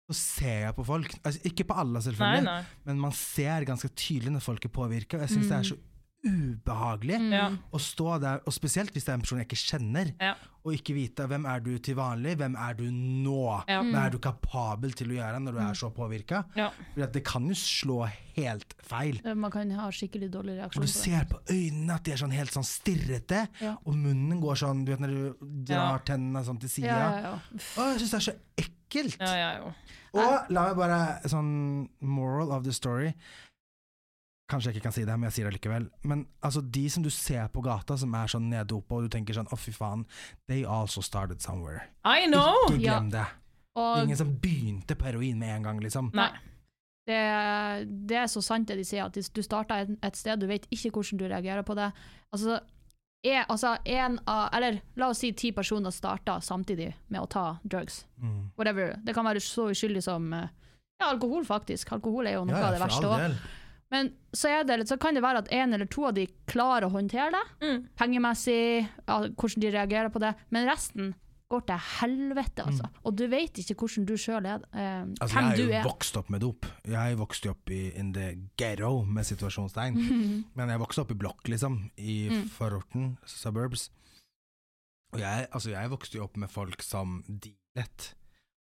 [SPEAKER 2] så ser jeg på folk altså, Ikke på alle,
[SPEAKER 3] Nei,
[SPEAKER 2] selvfølgelig,
[SPEAKER 3] nei.
[SPEAKER 2] men man ser ganske tydelig når folk er påvirka. Jeg syns det
[SPEAKER 1] Mm.
[SPEAKER 2] er så ubehagelig
[SPEAKER 3] Mm. Ja.
[SPEAKER 2] å stå der, og spesielt hvis det er en person jeg ikke kjenner,
[SPEAKER 3] Ja.
[SPEAKER 2] og ikke vite hvem er du til vanlig, hvem er du nå,
[SPEAKER 3] Ja.
[SPEAKER 2] hva er du kapabel til å gjøre når du er så påvirka?
[SPEAKER 3] Ja.
[SPEAKER 2] Det kan jo slå helt feil.
[SPEAKER 1] Eh, man kan ha skikkelig dårlig reaksjon på
[SPEAKER 2] For du
[SPEAKER 1] det.
[SPEAKER 2] ser på øynene at de er sånn helt sånn stirrete,
[SPEAKER 1] Ja.
[SPEAKER 2] og munnen går sånn Du vet når du drar
[SPEAKER 3] Ja.
[SPEAKER 2] tennene sånn til sida.
[SPEAKER 1] Ja, ja, ja.
[SPEAKER 2] Å, jeg syns det er så ekkelt!
[SPEAKER 3] Ja, ja, jo.
[SPEAKER 2] Og la meg bare sånn moral of the story Kanskje jeg ikke kan si det, men jeg sier det likevel. Men altså, de som du ser på gata, som er sånn neddopa, og du tenker sånn 'å, fy faen', they also started somewhere.
[SPEAKER 3] I know!
[SPEAKER 2] Ikke
[SPEAKER 1] Ja.
[SPEAKER 2] glem det.
[SPEAKER 1] Og
[SPEAKER 2] Ingen som begynte på heroin med en gang, liksom.
[SPEAKER 3] Nei.
[SPEAKER 1] det, det er så sant det de sier, at hvis du starter et, et sted, du vet ikke hvordan du reagerer på det. Altså, er, altså en av, eller la oss si ti personer starter samtidig med å ta drugs.
[SPEAKER 2] Mm.
[SPEAKER 1] Whatever. Det kan være så uskyldig som eh, ja, alkohol, faktisk. Alkohol er jo noe
[SPEAKER 2] Ja, ja,
[SPEAKER 1] av det
[SPEAKER 2] for
[SPEAKER 1] verste
[SPEAKER 2] all
[SPEAKER 1] også.
[SPEAKER 2] del.
[SPEAKER 1] Men så, er det, litt- så kan det være at en eller to av de klarer å håndtere det, pengemessig, ja, hvordan de reagerer på det, men resten går til helvete, altså. Og du vet ikke hvordan du sjøl er, eh,
[SPEAKER 2] Mm. Altså,
[SPEAKER 1] hvem
[SPEAKER 2] jeg
[SPEAKER 1] du
[SPEAKER 2] er jo
[SPEAKER 1] er.
[SPEAKER 2] vokst opp med dop. Jeg vokste jo opp i in the ghetto, med situasjonstegn. Men jeg vokste opp i blokk, liksom. I
[SPEAKER 1] Mm.
[SPEAKER 2] fororten, suburbs. Og jeg, altså, jeg vokste jo opp med folk som dealet.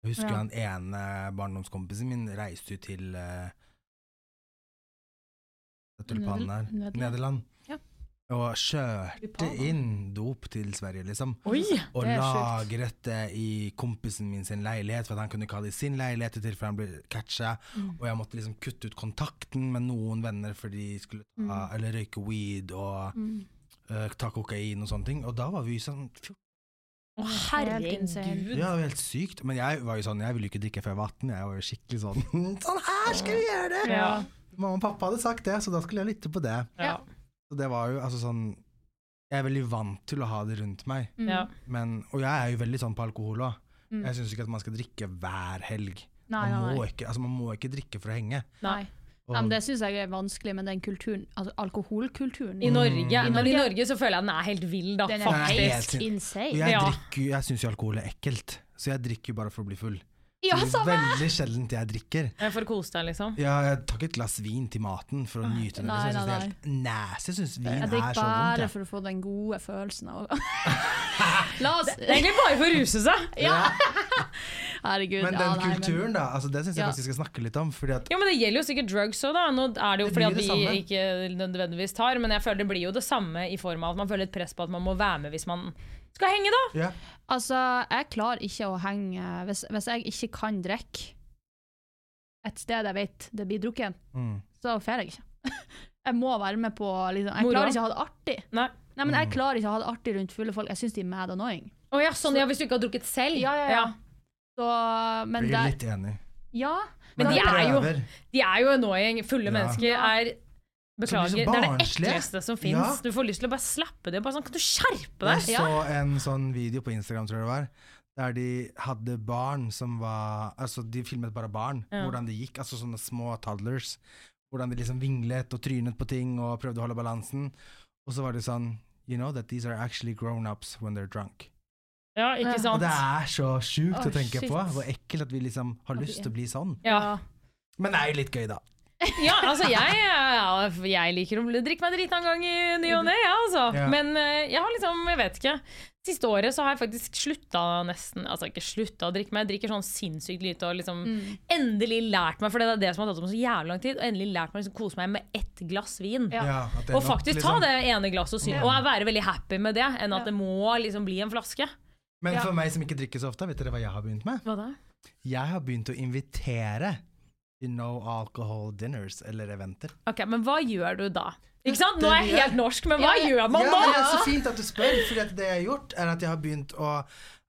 [SPEAKER 2] Jeg husker
[SPEAKER 1] Ja.
[SPEAKER 2] han ene barndomskompisen min reiste jo til eh, Det er tulpanen her.
[SPEAKER 1] Nederland.
[SPEAKER 2] Nederland.
[SPEAKER 1] Ja.
[SPEAKER 2] Og kjørte
[SPEAKER 1] Tulpaner.
[SPEAKER 2] inn dop til Sverige, liksom.
[SPEAKER 3] Oi!
[SPEAKER 2] Og
[SPEAKER 1] Det er sjukt.
[SPEAKER 2] lagret det i kompisen min sin leilighet, for at han kunne ikke ha det i sin leilighet til for han ble catcha.
[SPEAKER 1] Mm.
[SPEAKER 2] Og jeg måtte liksom kutte ut kontakten med noen venner for de skulle ta,
[SPEAKER 1] Mm.
[SPEAKER 2] eller røyke weed og eh, ta kokain og sånne ting. Og da var vi sånn fjo-
[SPEAKER 3] Å,
[SPEAKER 1] Helt insane.
[SPEAKER 3] herregud.
[SPEAKER 2] Ja, det var helt sykt. Men jeg var jo sånn, jeg ville jo ikke drikke før jeg var 18. Jeg var jo skikkelig sånn Sånn her skal vi gjøre det!
[SPEAKER 3] Ja.
[SPEAKER 2] Mamma og pappa hadde sagt det, så da skulle jeg lytte på det.
[SPEAKER 3] Ja.
[SPEAKER 2] Så det var jo altså sånn Jeg er veldig vant til å ha det rundt meg.
[SPEAKER 3] Ja.
[SPEAKER 2] Men, og jeg er jo veldig sånn på alkohol òg. Jeg syns ikke at man skal drikke hver helg.
[SPEAKER 1] Mm. Nei,
[SPEAKER 2] man,
[SPEAKER 1] nei,
[SPEAKER 2] må
[SPEAKER 1] nei.
[SPEAKER 2] Ikke, altså, man må ikke drikke for å henge.
[SPEAKER 1] nei.
[SPEAKER 2] Og,
[SPEAKER 1] Nei, men det syns jeg er vanskelig med den kulturen, altså alkoholkulturen.
[SPEAKER 3] I Norge. Men Mm. i
[SPEAKER 1] Norge.
[SPEAKER 3] Norge så føler jeg den er helt vill, da.
[SPEAKER 1] Den er
[SPEAKER 3] faktisk.
[SPEAKER 2] Nei,
[SPEAKER 1] helt
[SPEAKER 2] helt- og
[SPEAKER 1] insane.
[SPEAKER 2] jeg,
[SPEAKER 3] Ja.
[SPEAKER 2] drikker- jeg syns jo alkohol er ekkelt, så jeg drikker jo bare for å bli full.
[SPEAKER 1] Ja,
[SPEAKER 2] det er
[SPEAKER 1] samme!
[SPEAKER 2] veldig sjelden jeg drikker.
[SPEAKER 3] Ja, For å kose deg, liksom.
[SPEAKER 2] Ja, jeg tar ikke et glass vin til maten for å nyte den.
[SPEAKER 1] Nei,
[SPEAKER 2] Liksom. Jeg syns det
[SPEAKER 1] nei,
[SPEAKER 2] er helt nasty. Jeg syns vin
[SPEAKER 1] Jeg
[SPEAKER 2] er
[SPEAKER 1] drikker
[SPEAKER 2] så vondt.
[SPEAKER 1] bare
[SPEAKER 2] jeg.
[SPEAKER 1] for å få den gode følelsen av La oss
[SPEAKER 3] Det er egentlig bare for å ruse seg.
[SPEAKER 1] Herregud.
[SPEAKER 2] Men
[SPEAKER 1] ja,
[SPEAKER 2] den
[SPEAKER 1] nei, men-
[SPEAKER 2] kulturen, da, altså, det syns jeg
[SPEAKER 1] Ja.
[SPEAKER 2] faktisk vi skal snakke litt om. Fordi at
[SPEAKER 3] Jo, men Det gjelder jo sikkert drugs òg, da. Nå er det jo
[SPEAKER 2] Det
[SPEAKER 3] fordi
[SPEAKER 2] blir
[SPEAKER 3] at
[SPEAKER 2] det
[SPEAKER 3] de
[SPEAKER 2] samme.
[SPEAKER 3] ikke nødvendigvis tar, men jeg føler det blir jo det samme i form av at man føler et press på at man må være med hvis man skal henge, da.
[SPEAKER 2] ja,
[SPEAKER 1] Altså, jeg klarer ikke å henge Hvis, hvis jeg ikke kan drikke et sted jeg vet det blir drukket,
[SPEAKER 2] mm.
[SPEAKER 1] så drar jeg ikke. Jeg må være med på liksom, Jeg
[SPEAKER 3] Moro.
[SPEAKER 1] klarer ikke å ha det artig.
[SPEAKER 3] Nei.
[SPEAKER 1] Nei,
[SPEAKER 2] Mm.
[SPEAKER 1] men jeg klarer ikke å ha det artig rundt fulle folk. Jeg syns de er mad annoying.
[SPEAKER 3] Å ja, sånn ja, hvis du ikke har drukket selv.
[SPEAKER 1] Ja, ja, ja. Så, men
[SPEAKER 2] Jeg
[SPEAKER 1] det
[SPEAKER 2] er litt enig.
[SPEAKER 1] Ja.
[SPEAKER 3] Men
[SPEAKER 1] da-
[SPEAKER 3] de er jo,
[SPEAKER 2] Prøver.
[SPEAKER 3] de er jo annoying. Fulle
[SPEAKER 2] Ja.
[SPEAKER 3] mennesker er
[SPEAKER 2] blir
[SPEAKER 3] Beklager. Det
[SPEAKER 2] så
[SPEAKER 3] er det
[SPEAKER 2] barnslig.
[SPEAKER 3] ekleste som fins.
[SPEAKER 2] Ja.
[SPEAKER 3] Du får lyst til å bare slappe det. Bare sånn, kan du skjerpe
[SPEAKER 2] Jeg
[SPEAKER 3] deg?
[SPEAKER 2] så en sånn video på Instagram, tror jeg det var, der de hadde barn som var Altså, de filmet bare barn,
[SPEAKER 3] Ja.
[SPEAKER 2] hvordan det gikk. Altså sånne små toddlers. Hvordan de liksom vinglet og trynet på ting og prøvde å holde balansen. Og så var det sånn You know that these are actually grown-ups when they're drunk.
[SPEAKER 3] Ja, ikke
[SPEAKER 2] Og
[SPEAKER 3] sant?
[SPEAKER 2] det er så sjukt
[SPEAKER 3] Å,
[SPEAKER 2] å tenke
[SPEAKER 3] shit.
[SPEAKER 2] på. Hvor ekkelt at vi liksom har lyst til å bli sånn.
[SPEAKER 3] Ja.
[SPEAKER 2] Men det er jo litt gøy, da.
[SPEAKER 3] ja, altså jeg, ja, jeg liker å drikke meg drita en gang i ny og ne, jeg, altså.
[SPEAKER 2] Ja.
[SPEAKER 3] Men eh, jeg har liksom, jeg vet ikke. Siste året så har jeg faktisk slutta nesten Altså ikke slutta å drikke, men jeg drikker sånn sinnssykt lite og liksom endelig lært meg, for det er det som har tatt meg så jævlig lang tid, og endelig lært meg å liksom, kose meg med ett glass vin.
[SPEAKER 2] Ja, at det er
[SPEAKER 3] Og
[SPEAKER 2] nok,
[SPEAKER 3] faktisk ta
[SPEAKER 2] liksom.
[SPEAKER 3] det ene glasset og, sy- og være veldig happy med det, enn at det må liksom bli en flaske.
[SPEAKER 2] Men for meg som ikke drikker så ofte, vet dere hva jeg har begynt med?
[SPEAKER 3] Hva da?
[SPEAKER 2] Jeg har begynt å invitere til no alcohol dinners eller eventer.
[SPEAKER 3] Ok, Men hva gjør du da? Ikke sant? Nå er jeg helt norsk, men hva
[SPEAKER 1] Ja, ja.
[SPEAKER 3] gjør man
[SPEAKER 2] ja,
[SPEAKER 3] da?
[SPEAKER 2] men Det er så fint at du spør, for det jeg har gjort, er at jeg har begynt å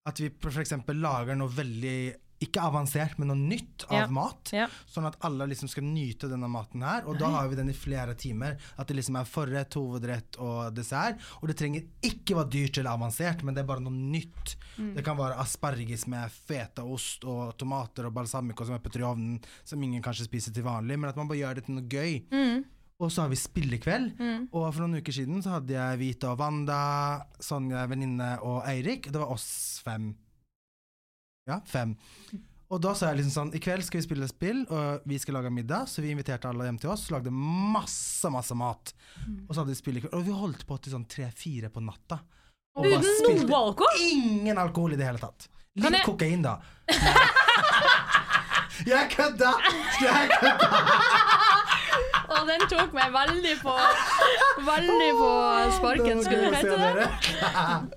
[SPEAKER 2] At vi f.eks. lager noe veldig ikke avansert, men noe nytt av
[SPEAKER 3] Ja.
[SPEAKER 2] mat.
[SPEAKER 3] Ja.
[SPEAKER 2] Sånn at alle liksom skal nyte denne maten her. Og da har vi den i flere timer. At det liksom er forrett, hovedrett og dessert. Og det trenger ikke være dyrt eller avansert, men det er bare noe nytt.
[SPEAKER 3] Mm.
[SPEAKER 2] Det kan være asparges med fetaost og tomater og balsamico som er putter i ovnen, som ingen kanskje spiser til vanlig, men at man bare gjør det til noe gøy. Og så har vi spillekveld.
[SPEAKER 3] Mm.
[SPEAKER 2] Og for noen uker siden så hadde jeg Vita og Wanda, Sonja, venninne og Eirik. Det var oss fem. Ja, fem. Og da sa jeg liksom sånn I kveld skal vi spille spill, og vi skal lage middag. Så vi inviterte alle hjem til oss, lagde masse, masse mat.
[SPEAKER 3] Mm.
[SPEAKER 2] Og så hadde vi spillekveld. Og vi holdt på til sånn tre-fire på natta. Og bare
[SPEAKER 3] Uten
[SPEAKER 2] spilte-
[SPEAKER 3] noe alkohol?
[SPEAKER 2] Ingen alkohol i det hele tatt.
[SPEAKER 3] Kan
[SPEAKER 2] Litt
[SPEAKER 3] jeg-
[SPEAKER 2] kokain, da. Jeg kødda! Jeg kødda!
[SPEAKER 1] Og den tok meg veldig på Veldig på sparken, skulle det hete det.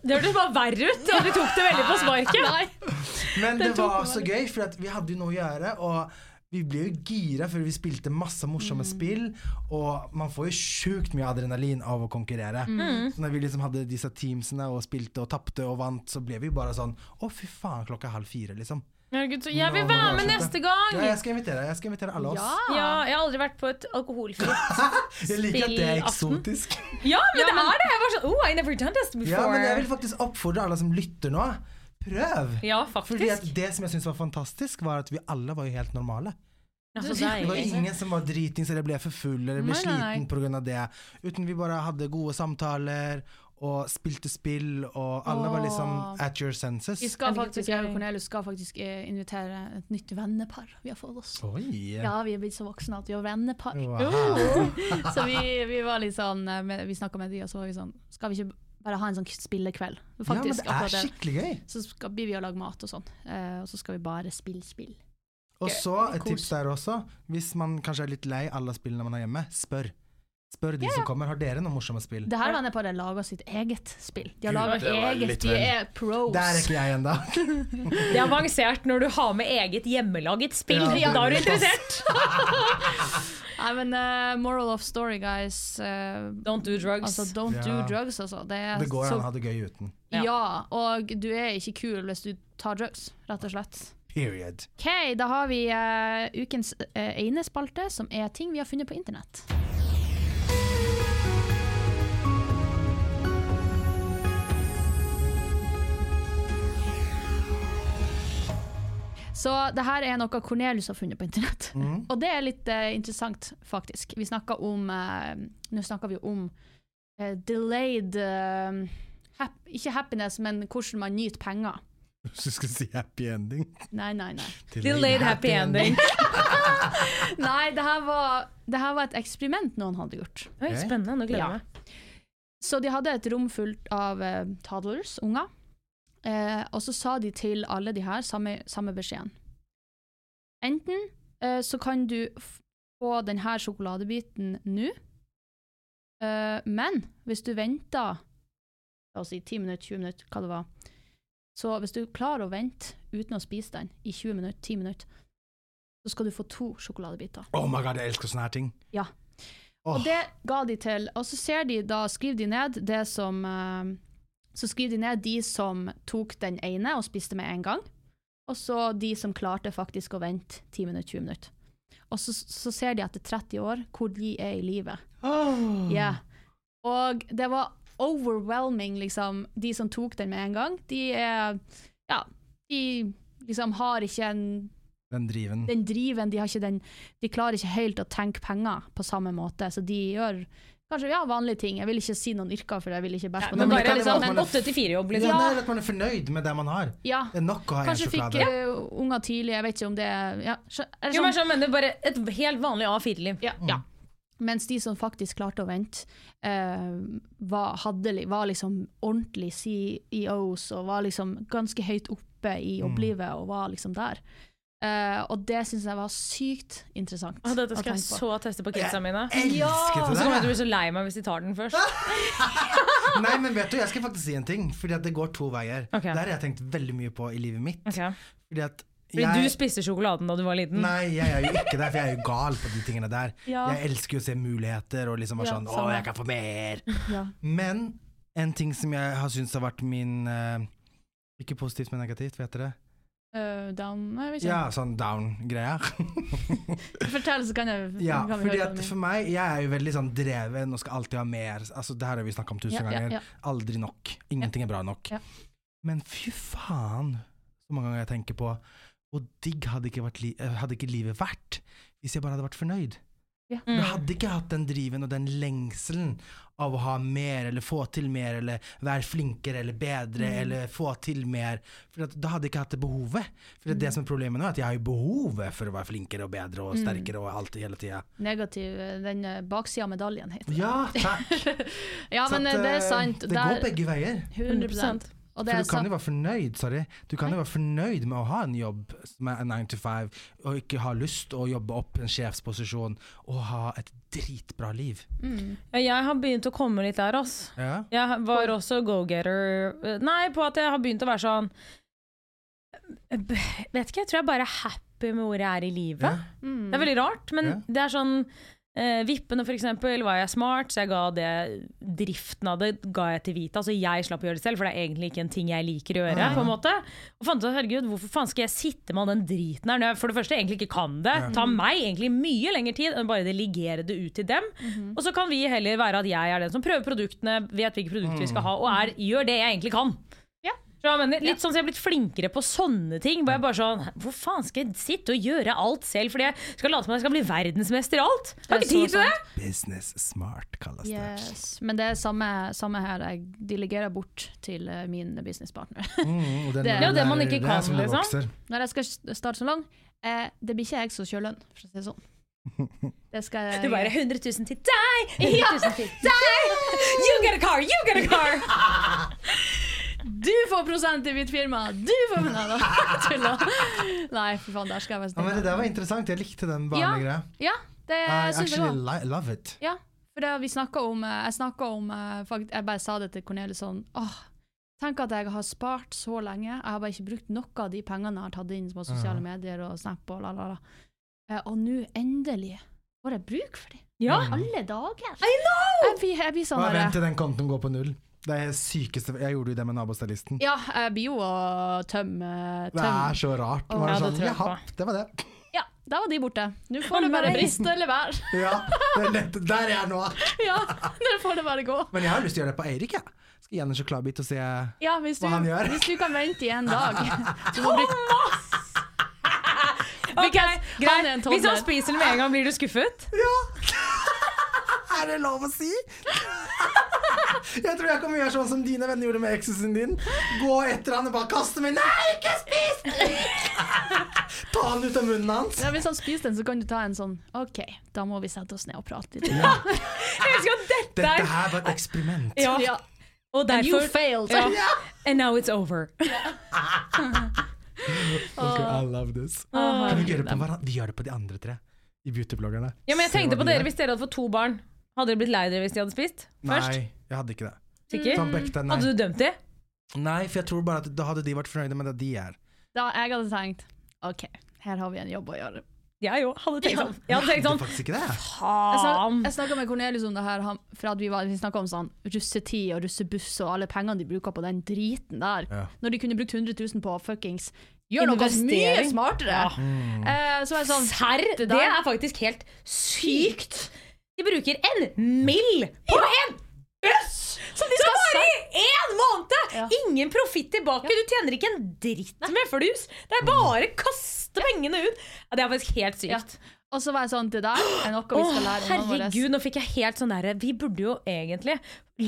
[SPEAKER 3] Det hørtes bare verre ut. Og du tok det veldig på sparket. Nei.
[SPEAKER 2] Men det var så gøy, for at vi hadde jo noe å gjøre. Og vi ble jo gira før vi spilte masse
[SPEAKER 3] Mm.
[SPEAKER 2] morsomme spill. Og man får jo sjukt mye adrenalin av å konkurrere.
[SPEAKER 3] Mm.
[SPEAKER 1] Mm.
[SPEAKER 2] Så når vi liksom hadde disse teamsene og spilte og tapte og vant, så ble vi bare sånn Å, fy faen, klokka er halv fire, liksom.
[SPEAKER 3] Herregud, så jeg vil
[SPEAKER 2] Nå må
[SPEAKER 3] være
[SPEAKER 2] vi
[SPEAKER 3] med
[SPEAKER 2] avslutte.
[SPEAKER 3] neste gang.
[SPEAKER 2] Ja, jeg skal invitere jeg skal invitere alle oss.
[SPEAKER 3] Ja, jeg har aldri vært på et alkoholfritt
[SPEAKER 2] jeg liker at det er
[SPEAKER 3] spillaften.
[SPEAKER 2] eksotisk.
[SPEAKER 3] Ja, men det er det! Jeg var sånn Oh, I never done this before.
[SPEAKER 2] Ja, men jeg vil faktisk oppfordre alle som lytter nå, prøv.
[SPEAKER 3] Ja,
[SPEAKER 2] Fordi at
[SPEAKER 3] faktisk.
[SPEAKER 2] det som jeg syns var fantastisk, var at vi alle var jo helt normale.
[SPEAKER 3] Ja, så
[SPEAKER 2] Det var
[SPEAKER 3] deilig.
[SPEAKER 2] ingen som var dritings eller ble for full eller ble
[SPEAKER 1] Nei, nei, nei.
[SPEAKER 2] sliten pga. det. Uten vi bare hadde gode samtaler og spilte spill, og alle var liksom at your senses.
[SPEAKER 1] Vi skal
[SPEAKER 3] Er det ikke
[SPEAKER 1] faktisk,
[SPEAKER 3] så gøy?
[SPEAKER 1] jeg og Cornelius skal faktisk eh, invitere et nytt vennepar vi har fått oss.
[SPEAKER 2] Oi!
[SPEAKER 1] Ja, vi er blitt så voksne at vi har vennepar.
[SPEAKER 2] Wow.
[SPEAKER 1] Så vi, vi var litt sånn eh, med- Vi snakka med de, og så var vi sånn Skal vi ikke bare ha en sånn spillekveld?
[SPEAKER 2] Ja, men
[SPEAKER 1] Faktisk.
[SPEAKER 2] det er
[SPEAKER 1] akkurat det.
[SPEAKER 2] skikkelig gøy.
[SPEAKER 1] Så skal blir vi og lager mat og sånn. eh, og så skal vi bare spille spill.
[SPEAKER 2] Og så et tips der også, hvis man kanskje er litt lei alle spillene man har hjemme, spør. Spør de som kommer. Har dere noen morsomme spill?
[SPEAKER 1] Det her venneparet lager sitt eget spill. De har
[SPEAKER 2] Gud,
[SPEAKER 1] laget
[SPEAKER 7] det var
[SPEAKER 1] eget.
[SPEAKER 7] litt
[SPEAKER 1] De
[SPEAKER 7] vel.
[SPEAKER 1] er pros.
[SPEAKER 2] Der er ikke jeg ennå.
[SPEAKER 3] Det er avansert når du har med eget hjemmelaget spill.
[SPEAKER 2] Ja,
[SPEAKER 3] Ja, da er du
[SPEAKER 2] det er pass.
[SPEAKER 3] interessert.
[SPEAKER 1] Nei, men eh, moral of story, guys. eh,
[SPEAKER 3] Don't do drugs.
[SPEAKER 1] altså, don't
[SPEAKER 2] Ja.
[SPEAKER 1] do drugs, altså. Det, er
[SPEAKER 2] Det går
[SPEAKER 1] så
[SPEAKER 2] an å ha det gøy uten.
[SPEAKER 3] Ja.
[SPEAKER 1] Ja, og du er ikke kul hvis du tar drugs, rett og slett.
[SPEAKER 2] Period.
[SPEAKER 1] OK, da har vi eh, ukens uh, ene spalte, som er ting vi har funnet på internett. Så det her er noe Cornelius har funnet på internett. Og det er litt eh, interessant, faktisk. Vi snakker om eh, Nå snakker vi om eh, delayed eh, hap Ikke happiness, men hvordan man nyter penger.
[SPEAKER 2] Hvis du skal si happy ending.
[SPEAKER 1] Nei, nei, nei.
[SPEAKER 3] Delayed happy ending.
[SPEAKER 1] Nei, det her, var, det her var et eksperiment noen hadde gjort.
[SPEAKER 3] Oi, spennende. Nå gleder jeg meg.
[SPEAKER 1] Så de hadde et rom fullt av eh, toddlers, unger. Eh, og så sa de til alle de her samme, samme beskjeden. Enten eh, så kan du f- få denne sjokoladebiten nå, eh, men hvis du venter La oss si 10 minutter, 20 minutter, hva det var. Så hvis du klarer å vente uten å spise den i 20 minutter, 10 minutter, så skal du få to sjokoladebiter.
[SPEAKER 2] Oh my god, jeg elsker sånne her ting.
[SPEAKER 1] Ja.
[SPEAKER 2] Åh.
[SPEAKER 1] Og det ga de til. Og så ser de da, skriver de ned det som eh, Så skriver de ned de som tok den ene og spiste med en gang, og så de som klarte faktisk å vente 10 minutter, 20 minutter. Og så, så ser de etter 30 år hvor de er i livet. Ja. Og det var overwhelming, liksom, de som tok den med en gang. De er Ja, de liksom har ikke en,
[SPEAKER 2] Den driven.
[SPEAKER 1] den driven, de har ikke den De klarer ikke helt å tenke penger på samme måte, så de gjør kanskje ja, vanlige ting. Jeg vil ikke si noen yrker, for jeg vil ikke bæsje på
[SPEAKER 3] men
[SPEAKER 1] noen.
[SPEAKER 2] men det
[SPEAKER 3] bare
[SPEAKER 2] kan
[SPEAKER 3] liksom
[SPEAKER 2] være at
[SPEAKER 3] en
[SPEAKER 2] man er-
[SPEAKER 3] 8-4-jobb,
[SPEAKER 2] Ja,
[SPEAKER 3] liksom.
[SPEAKER 2] nei, at man er fornøyd med det man har.
[SPEAKER 1] Ja.
[SPEAKER 2] Det er nok å ha
[SPEAKER 1] Kanskje fikk
[SPEAKER 2] hjernasjokolade.
[SPEAKER 1] eh, unger tidlig, jeg vet ikke om det er- ja, skjø- er det
[SPEAKER 3] Jo,
[SPEAKER 1] sånn-
[SPEAKER 3] men jeg mener bare et helt vanlig A4-liv.
[SPEAKER 1] Ja. Mens de som faktisk klarte å vente, eh, var, hadde, li- var liksom ordentlig CEOs og var liksom ganske høyt oppe i
[SPEAKER 2] Mm.
[SPEAKER 1] opplivet og var liksom der. Eh, og det syns jeg var sykt interessant.
[SPEAKER 3] Å, dette skal
[SPEAKER 1] å
[SPEAKER 3] jeg
[SPEAKER 1] tenke på.
[SPEAKER 3] så teste på kidsa mine.
[SPEAKER 2] Elsket
[SPEAKER 3] Og så
[SPEAKER 2] det
[SPEAKER 3] kommer jeg til å
[SPEAKER 2] der.
[SPEAKER 3] bli så lei meg hvis de tar den først.
[SPEAKER 2] jeg. Nei, men vet du, jeg skal faktisk si en ting, fordi at det går to veier.
[SPEAKER 3] Ok.
[SPEAKER 2] Det har jeg tenkt veldig mye på i livet mitt.
[SPEAKER 3] Ok.
[SPEAKER 2] Fordi at
[SPEAKER 3] Fordi du
[SPEAKER 2] jeg
[SPEAKER 3] spiste sjokoladen da du var liten.
[SPEAKER 2] Nei, jeg er jo ikke det, for jeg er jo gal på de tingene der.
[SPEAKER 1] Ja.
[SPEAKER 2] Jeg elsker jo å se muligheter og liksom være
[SPEAKER 1] Ja,
[SPEAKER 2] sånn Å,
[SPEAKER 1] samme.
[SPEAKER 2] jeg kan få mer!
[SPEAKER 1] Ja.
[SPEAKER 2] Men en ting som jeg har syntes har vært min eh, Ikke positivt, men negativt, vet dere?
[SPEAKER 1] Eh, down, nei, jeg vet ikke.
[SPEAKER 2] Ja, sånn down-greia.
[SPEAKER 1] Fortell, så kan jeg
[SPEAKER 2] Ja,
[SPEAKER 1] kan vi
[SPEAKER 2] fordi
[SPEAKER 1] høre
[SPEAKER 2] at
[SPEAKER 1] på det.
[SPEAKER 2] for meg, jeg er jo veldig sånn dreven og skal alltid ha mer. Altså, det her har vi snakka om tusen
[SPEAKER 1] Ja, ja,
[SPEAKER 2] ganger.
[SPEAKER 1] ja.
[SPEAKER 2] Aldri nok. Ingenting er bra nok.
[SPEAKER 1] Ja.
[SPEAKER 2] Men fy faen, så mange ganger jeg tenker på hvor digg hadde ikke, vært li eh, hadde ikke livet vært hvis jeg bare hadde vært fornøyd.
[SPEAKER 3] Mm.
[SPEAKER 2] Jeg hadde ikke hatt den driven og den lengselen av å ha mer, eller få til mer, eller være flinkere eller bedre,
[SPEAKER 1] Mm.
[SPEAKER 2] eller få til mer. For at, da hadde jeg ikke hatt det behovet. For
[SPEAKER 1] Mm.
[SPEAKER 2] det, er det som er problemet nå, er at jeg har jo behovet for å være flinkere og bedre og sterkere og alt hele tida.
[SPEAKER 1] Negativ, eh, den eh, baksida av medaljen heter det.
[SPEAKER 2] Ja, takk!
[SPEAKER 1] Ja, men
[SPEAKER 2] Så at,
[SPEAKER 1] eh, det er
[SPEAKER 2] eh,
[SPEAKER 1] sant.
[SPEAKER 2] Det går begge veier.
[SPEAKER 1] 100 Og det
[SPEAKER 2] For
[SPEAKER 1] er
[SPEAKER 2] du kan
[SPEAKER 1] sant.
[SPEAKER 2] jo være fornøyd, sorry. Du kan jo være fornøyd med å ha en jobb som er 9 to 5, og ikke ha lyst å jobbe opp en sjefsposisjon og ha et dritbra liv.
[SPEAKER 3] Ja, Jeg har begynt å komme litt der, ass.
[SPEAKER 2] Ja.
[SPEAKER 3] Jeg var også go-getter eh, Nei, på at jeg har begynt å være sånn eh, b- Vet ikke, jeg tror jeg bare er happy med hvor jeg er i livet.
[SPEAKER 2] Ja.
[SPEAKER 1] Mm.
[SPEAKER 3] Det er veldig rart, men
[SPEAKER 2] Ja.
[SPEAKER 3] det er sånn eh, Vippene, for eksempel, var jeg smart, så jeg ga det driften av det ga jeg til Vita. Så jeg slapp å gjøre det selv, for det er egentlig ikke en ting jeg liker å gjøre.
[SPEAKER 2] Ja.
[SPEAKER 3] på en måte. Og fant ut, herregud, Hvorfor faen skal jeg sitte med all den driten her når jeg for det første egentlig ikke kan det? Ta meg egentlig mye lengre tid enn bare delegere det ut til dem. Og så kan vi heller være at jeg er den som prøver produktene, vet hvilke produkter vi skal ha, og er, gjør det jeg egentlig kan.
[SPEAKER 1] Ja.
[SPEAKER 3] Så jeg mener, litt sånn at jeg er blitt flinkere på sånne ting. Hvor jeg bare sånn, Hvor faen skal jeg sitte og gjøre alt selv? Fordi jeg skal late som jeg skal bli verdensmester i alt? Jeg har
[SPEAKER 1] Det
[SPEAKER 3] ikke
[SPEAKER 1] er så
[SPEAKER 3] tid til det!
[SPEAKER 1] sant.
[SPEAKER 2] Business smart kalles det.
[SPEAKER 1] Yes. Men det er samme, samme her. Jeg delegerer bort til eh, min businesspartner.
[SPEAKER 2] Mm, og den-
[SPEAKER 1] Det er jo
[SPEAKER 3] det man ikke
[SPEAKER 2] det er
[SPEAKER 3] kan,
[SPEAKER 2] som det
[SPEAKER 3] liksom.
[SPEAKER 2] vokser.
[SPEAKER 1] Når jeg skal s- starte salong, eh, det blir ikke jeg som kjører lønn, for å si det sånn. Det skal jeg
[SPEAKER 3] Du bare 100 000 til deg! 100 000 til deg! You get a car! You get a car!
[SPEAKER 1] Du får prosent i mitt firma! Du får Nei da, tulla. Nei, for faen, der skal jeg være
[SPEAKER 2] Ja, men det
[SPEAKER 1] snill.
[SPEAKER 2] der var interessant. Jeg likte den barnegreia.
[SPEAKER 1] Ja, det
[SPEAKER 2] I
[SPEAKER 1] syns jeg
[SPEAKER 2] actually
[SPEAKER 1] òg.
[SPEAKER 2] li love it.
[SPEAKER 1] Ja, for det vi snakket om eh, Jeg snakket om eh, fakt, Jeg bare sa det til Cornelius sånn Åh, tenk at jeg har spart så lenge. Jeg har bare ikke brukt noe av de pengene jeg har tatt inn på
[SPEAKER 2] Mhm.
[SPEAKER 1] sosiale medier og Snap og la, la, la. Eh, Og nå endelig får jeg bruk for dem.
[SPEAKER 3] Ja.
[SPEAKER 1] Alle dager!
[SPEAKER 3] I know!
[SPEAKER 1] Jeg blir, jeg blir sånn
[SPEAKER 2] Bare vent
[SPEAKER 1] der,
[SPEAKER 2] til den kontoen går på null. Det er sykeste Jeg gjorde jo det med nabostylisten.
[SPEAKER 1] Ja, jeg blir jo å tømme
[SPEAKER 2] Det
[SPEAKER 1] tøm.
[SPEAKER 2] er så rart. Det var
[SPEAKER 3] Ja, det
[SPEAKER 2] sånn,
[SPEAKER 3] tror jeg
[SPEAKER 2] Jaha, det var det.
[SPEAKER 1] Ja, da var de borte. Nå får det bare
[SPEAKER 3] nei.
[SPEAKER 1] briste eller være.
[SPEAKER 2] Ja, det er nett, der er jeg nå.
[SPEAKER 1] Ja, nå får det bare gå.
[SPEAKER 2] Men jeg har lyst til å gjøre det på Eirik, jeg. Skal gi han en sjokoladebit og se
[SPEAKER 1] Ja, hvis du,
[SPEAKER 2] Hva han gjør.
[SPEAKER 1] hvis du kan vente i en dag Du må bruke
[SPEAKER 3] Ok,
[SPEAKER 1] han er en
[SPEAKER 3] greit. Hvis
[SPEAKER 1] toddler.
[SPEAKER 3] han spiser den med en gang, blir du skuffet?
[SPEAKER 2] Ja! Er det lov å si? Jeg tror jeg kommer gjøre sånn som dine venner gjorde med eksen din. Gå etter han og bare kaste med Nei, ikke spis! Ta han ut av munnen hans.
[SPEAKER 1] Ja, hvis han spiser den, så kan du ta en sånn OK, da må vi sette oss ned og prate litt.
[SPEAKER 3] Jeg elsker at dette
[SPEAKER 2] Dette
[SPEAKER 3] er
[SPEAKER 2] her var et eksperiment.
[SPEAKER 3] ja.
[SPEAKER 1] Ja.
[SPEAKER 3] Og
[SPEAKER 1] You
[SPEAKER 3] derfor
[SPEAKER 1] failed!
[SPEAKER 3] ja. And now it's over.
[SPEAKER 2] Ok, I love this. Kan vi gjøre det på hverandre? Vi gjør det på de andre tre. I beautybloggerne.
[SPEAKER 3] Ja, men jeg
[SPEAKER 2] Se
[SPEAKER 3] tenkte
[SPEAKER 2] hva
[SPEAKER 3] på
[SPEAKER 2] de
[SPEAKER 3] dere
[SPEAKER 2] gjør.
[SPEAKER 3] hvis dere hadde fått to barn. Hadde dere blitt lei dere hvis de hadde spist? Først?
[SPEAKER 2] Nei, jeg hadde ikke det.
[SPEAKER 3] Sikker?
[SPEAKER 2] Sånn på ekte, nei.
[SPEAKER 3] Hadde du dømt dem?
[SPEAKER 2] Nei, for jeg tror bare at da hadde de vært fornøyde med det de er.
[SPEAKER 1] Da jeg hadde tenkt OK, her har vi en jobb å gjøre.
[SPEAKER 3] Jeg òg hadde tenkt
[SPEAKER 1] Ja.
[SPEAKER 3] sånn. Jeg hadde tenkt
[SPEAKER 2] Det er
[SPEAKER 3] sånn
[SPEAKER 2] faktisk ikke det.
[SPEAKER 1] Jeg
[SPEAKER 3] Faen!
[SPEAKER 1] snak- Jeg snakka med Cornelius om det her, han, for at vi, var, vi snakka om sånn russetid og russebuss og alle pengene de bruker på den driten der.
[SPEAKER 2] Ja.
[SPEAKER 1] Når de kunne brukt 100 000 på fuckings Gjør noe mye
[SPEAKER 3] Investering.
[SPEAKER 1] smartere!
[SPEAKER 3] Ja.
[SPEAKER 1] Eh, så var jeg sånn
[SPEAKER 3] Serr?
[SPEAKER 1] det
[SPEAKER 3] Det,
[SPEAKER 1] der-
[SPEAKER 3] er faktisk helt sykt! De bruker en mill på en buss! Som de skal vare i én måned!
[SPEAKER 1] Ja.
[SPEAKER 3] Ingen profitt tilbake. Du tjener ikke en dritt med flus. Det er bare kaste pengene ut. Ja, det er faktisk helt
[SPEAKER 1] Ja.
[SPEAKER 3] sykt.
[SPEAKER 1] Og så var jeg sånn Det der er noe vi skal
[SPEAKER 3] Åh,
[SPEAKER 1] lære ungene
[SPEAKER 3] herregud, nå fikk jeg helt sånn derre Vi burde jo egentlig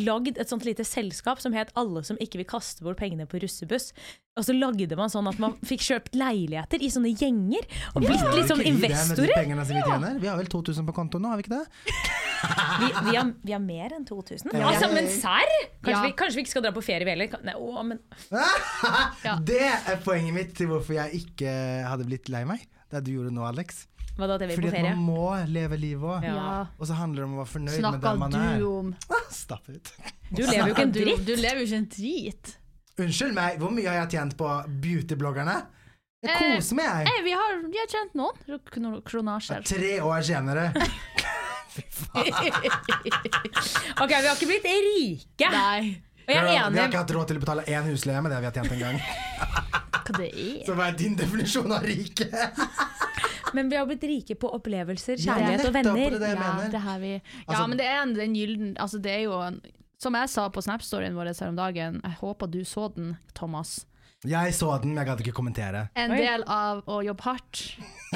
[SPEAKER 3] lagd et sånt lite selskap som het Alle som ikke vil kaste bort pengene på russebuss. Og så lagde man sånn at man fikk kjøpt leiligheter i sånne gjenger. Og blitt
[SPEAKER 2] Har vi
[SPEAKER 3] litt sånn
[SPEAKER 2] ikke vi det med de
[SPEAKER 3] investorer.
[SPEAKER 2] pengene som vi tjener? Vi har vel 2000 på konto nå, har vi ikke det?
[SPEAKER 3] Vi, vi, har, vi har mer enn 2000.
[SPEAKER 2] Ja.
[SPEAKER 3] Altså, men serr? Kanskje,
[SPEAKER 1] Ja.
[SPEAKER 3] vi, kanskje vi ikke skal dra på ferie, vi heller? Kan- Nei, å, men
[SPEAKER 1] Ja.
[SPEAKER 2] Det er poenget mitt til hvorfor jeg ikke hadde blitt lei meg. Det du gjorde nå, Alex.
[SPEAKER 3] hva da, det vi er
[SPEAKER 2] Fordi
[SPEAKER 3] på
[SPEAKER 2] at
[SPEAKER 3] ferie?
[SPEAKER 2] man må leve livet òg.
[SPEAKER 1] Ja.
[SPEAKER 2] Og så handler det om å være fornøyd med
[SPEAKER 1] Snakka
[SPEAKER 2] der man
[SPEAKER 1] du
[SPEAKER 2] er.
[SPEAKER 1] om
[SPEAKER 2] Ah, Stapp ut.
[SPEAKER 3] Du lever jo ikke en
[SPEAKER 1] du,
[SPEAKER 3] dritt.
[SPEAKER 1] du lever jo ikke en drit.
[SPEAKER 2] Unnskyld meg, hvor mye har jeg tjent på beautybloggerne? Jeg
[SPEAKER 1] Eh,
[SPEAKER 2] koser meg, jeg.
[SPEAKER 1] Nei, vi har, vi har tjent noen kron- kronasjer.
[SPEAKER 2] Tre år senere.
[SPEAKER 3] Ok, vi har ikke blitt rike.
[SPEAKER 1] Nei,
[SPEAKER 3] Og jeg
[SPEAKER 2] Girl, vi har
[SPEAKER 3] er enig.
[SPEAKER 2] ikke hatt råd til å betale én husleie med det vi har tjent en gang.
[SPEAKER 1] hva det er
[SPEAKER 2] Så hva er din definisjon av rike?
[SPEAKER 3] Men vi har blitt rike på opplevelser,
[SPEAKER 2] Ja,
[SPEAKER 3] kjærlighet og
[SPEAKER 2] nettopp, og det er det
[SPEAKER 3] venner.
[SPEAKER 2] jeg
[SPEAKER 1] ja,
[SPEAKER 2] mener.
[SPEAKER 1] det her vi, ja,
[SPEAKER 2] Altså-
[SPEAKER 1] men det er en, den gylden altså det er jo en, Som jeg sa på Snap-storyen vår her om dagen, jeg håper du så den, Thomas.
[SPEAKER 2] Jeg så den, men jeg gadd ikke kommentere.
[SPEAKER 1] En
[SPEAKER 3] Oi.
[SPEAKER 1] del av å jobbe hardt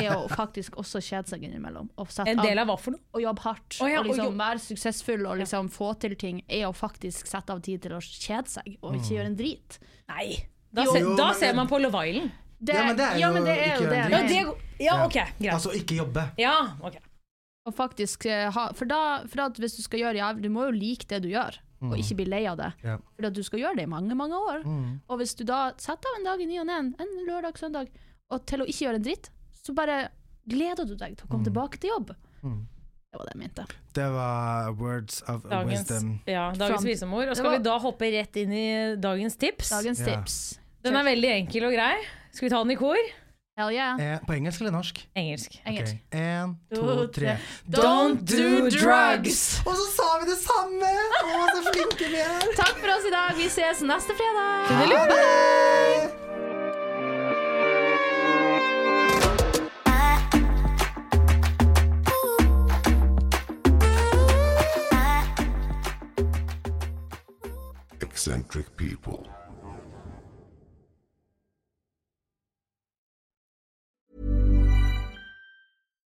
[SPEAKER 1] er å faktisk også kjede seg innimellom. Og sette
[SPEAKER 3] En del
[SPEAKER 1] av
[SPEAKER 3] av hva for noe?
[SPEAKER 1] å jobbe hardt
[SPEAKER 3] Å ja,
[SPEAKER 1] og
[SPEAKER 3] og
[SPEAKER 1] liksom
[SPEAKER 3] jobb-
[SPEAKER 1] være suksessfull og liksom få til ting, er å faktisk sette av tid til å kjede seg og
[SPEAKER 2] Mm.
[SPEAKER 1] ikke gjøre en drit.
[SPEAKER 3] Nei. Da,
[SPEAKER 1] Jo,
[SPEAKER 3] se,
[SPEAKER 2] jo,
[SPEAKER 3] da
[SPEAKER 2] men-
[SPEAKER 3] ser man på Love Island.
[SPEAKER 1] Det,
[SPEAKER 2] Ja, men det er
[SPEAKER 1] ja,
[SPEAKER 2] jo
[SPEAKER 1] men det
[SPEAKER 2] ikke
[SPEAKER 1] er jo
[SPEAKER 2] gjøre en
[SPEAKER 1] det.
[SPEAKER 3] Ja,
[SPEAKER 2] drit.
[SPEAKER 1] det
[SPEAKER 3] det, ja
[SPEAKER 2] Ja.
[SPEAKER 3] ok, greit.
[SPEAKER 2] Altså ikke jobbe.
[SPEAKER 3] Ja, ok.
[SPEAKER 1] Og faktisk eh, ha, for, da, for at hvis du skal gjøre jævlig, du må jo like det du gjør, og ikke bli lei av det.
[SPEAKER 2] Mm. Ja. Mm.
[SPEAKER 1] For at du skal gjøre det i mange, mange år. Og hvis du da setter av en dag i ny og ne, en lørdag, søndag, og til å ikke gjøre en dritt, så bare gleder du deg til å
[SPEAKER 2] Mm.
[SPEAKER 1] komme tilbake til jobb. Det var det jeg mente.
[SPEAKER 2] Det var words of
[SPEAKER 3] Dagens,
[SPEAKER 2] wisdom.
[SPEAKER 3] ja, dagens
[SPEAKER 1] From-
[SPEAKER 3] visdomord. Og
[SPEAKER 1] Det
[SPEAKER 3] skal
[SPEAKER 1] var-
[SPEAKER 3] vi da hoppe rett inn i dagens tips?
[SPEAKER 1] Dagens
[SPEAKER 2] Ja.
[SPEAKER 1] tips.
[SPEAKER 3] Den er veldig enkel og grei. Skal vi ta den i kor?
[SPEAKER 1] Hell yeah.
[SPEAKER 2] Eh, på engelsk eller norsk?
[SPEAKER 3] Engelsk.
[SPEAKER 1] Engelsk.
[SPEAKER 2] Ok, En, to,
[SPEAKER 3] To,
[SPEAKER 2] tre.
[SPEAKER 3] tre. Don't do drugs!
[SPEAKER 2] Og så sa vi det samme! Å, så flinke vi er!
[SPEAKER 1] Takk for oss i dag. Vi ses neste fredag.
[SPEAKER 2] Ha det!
[SPEAKER 4] Eccentric people.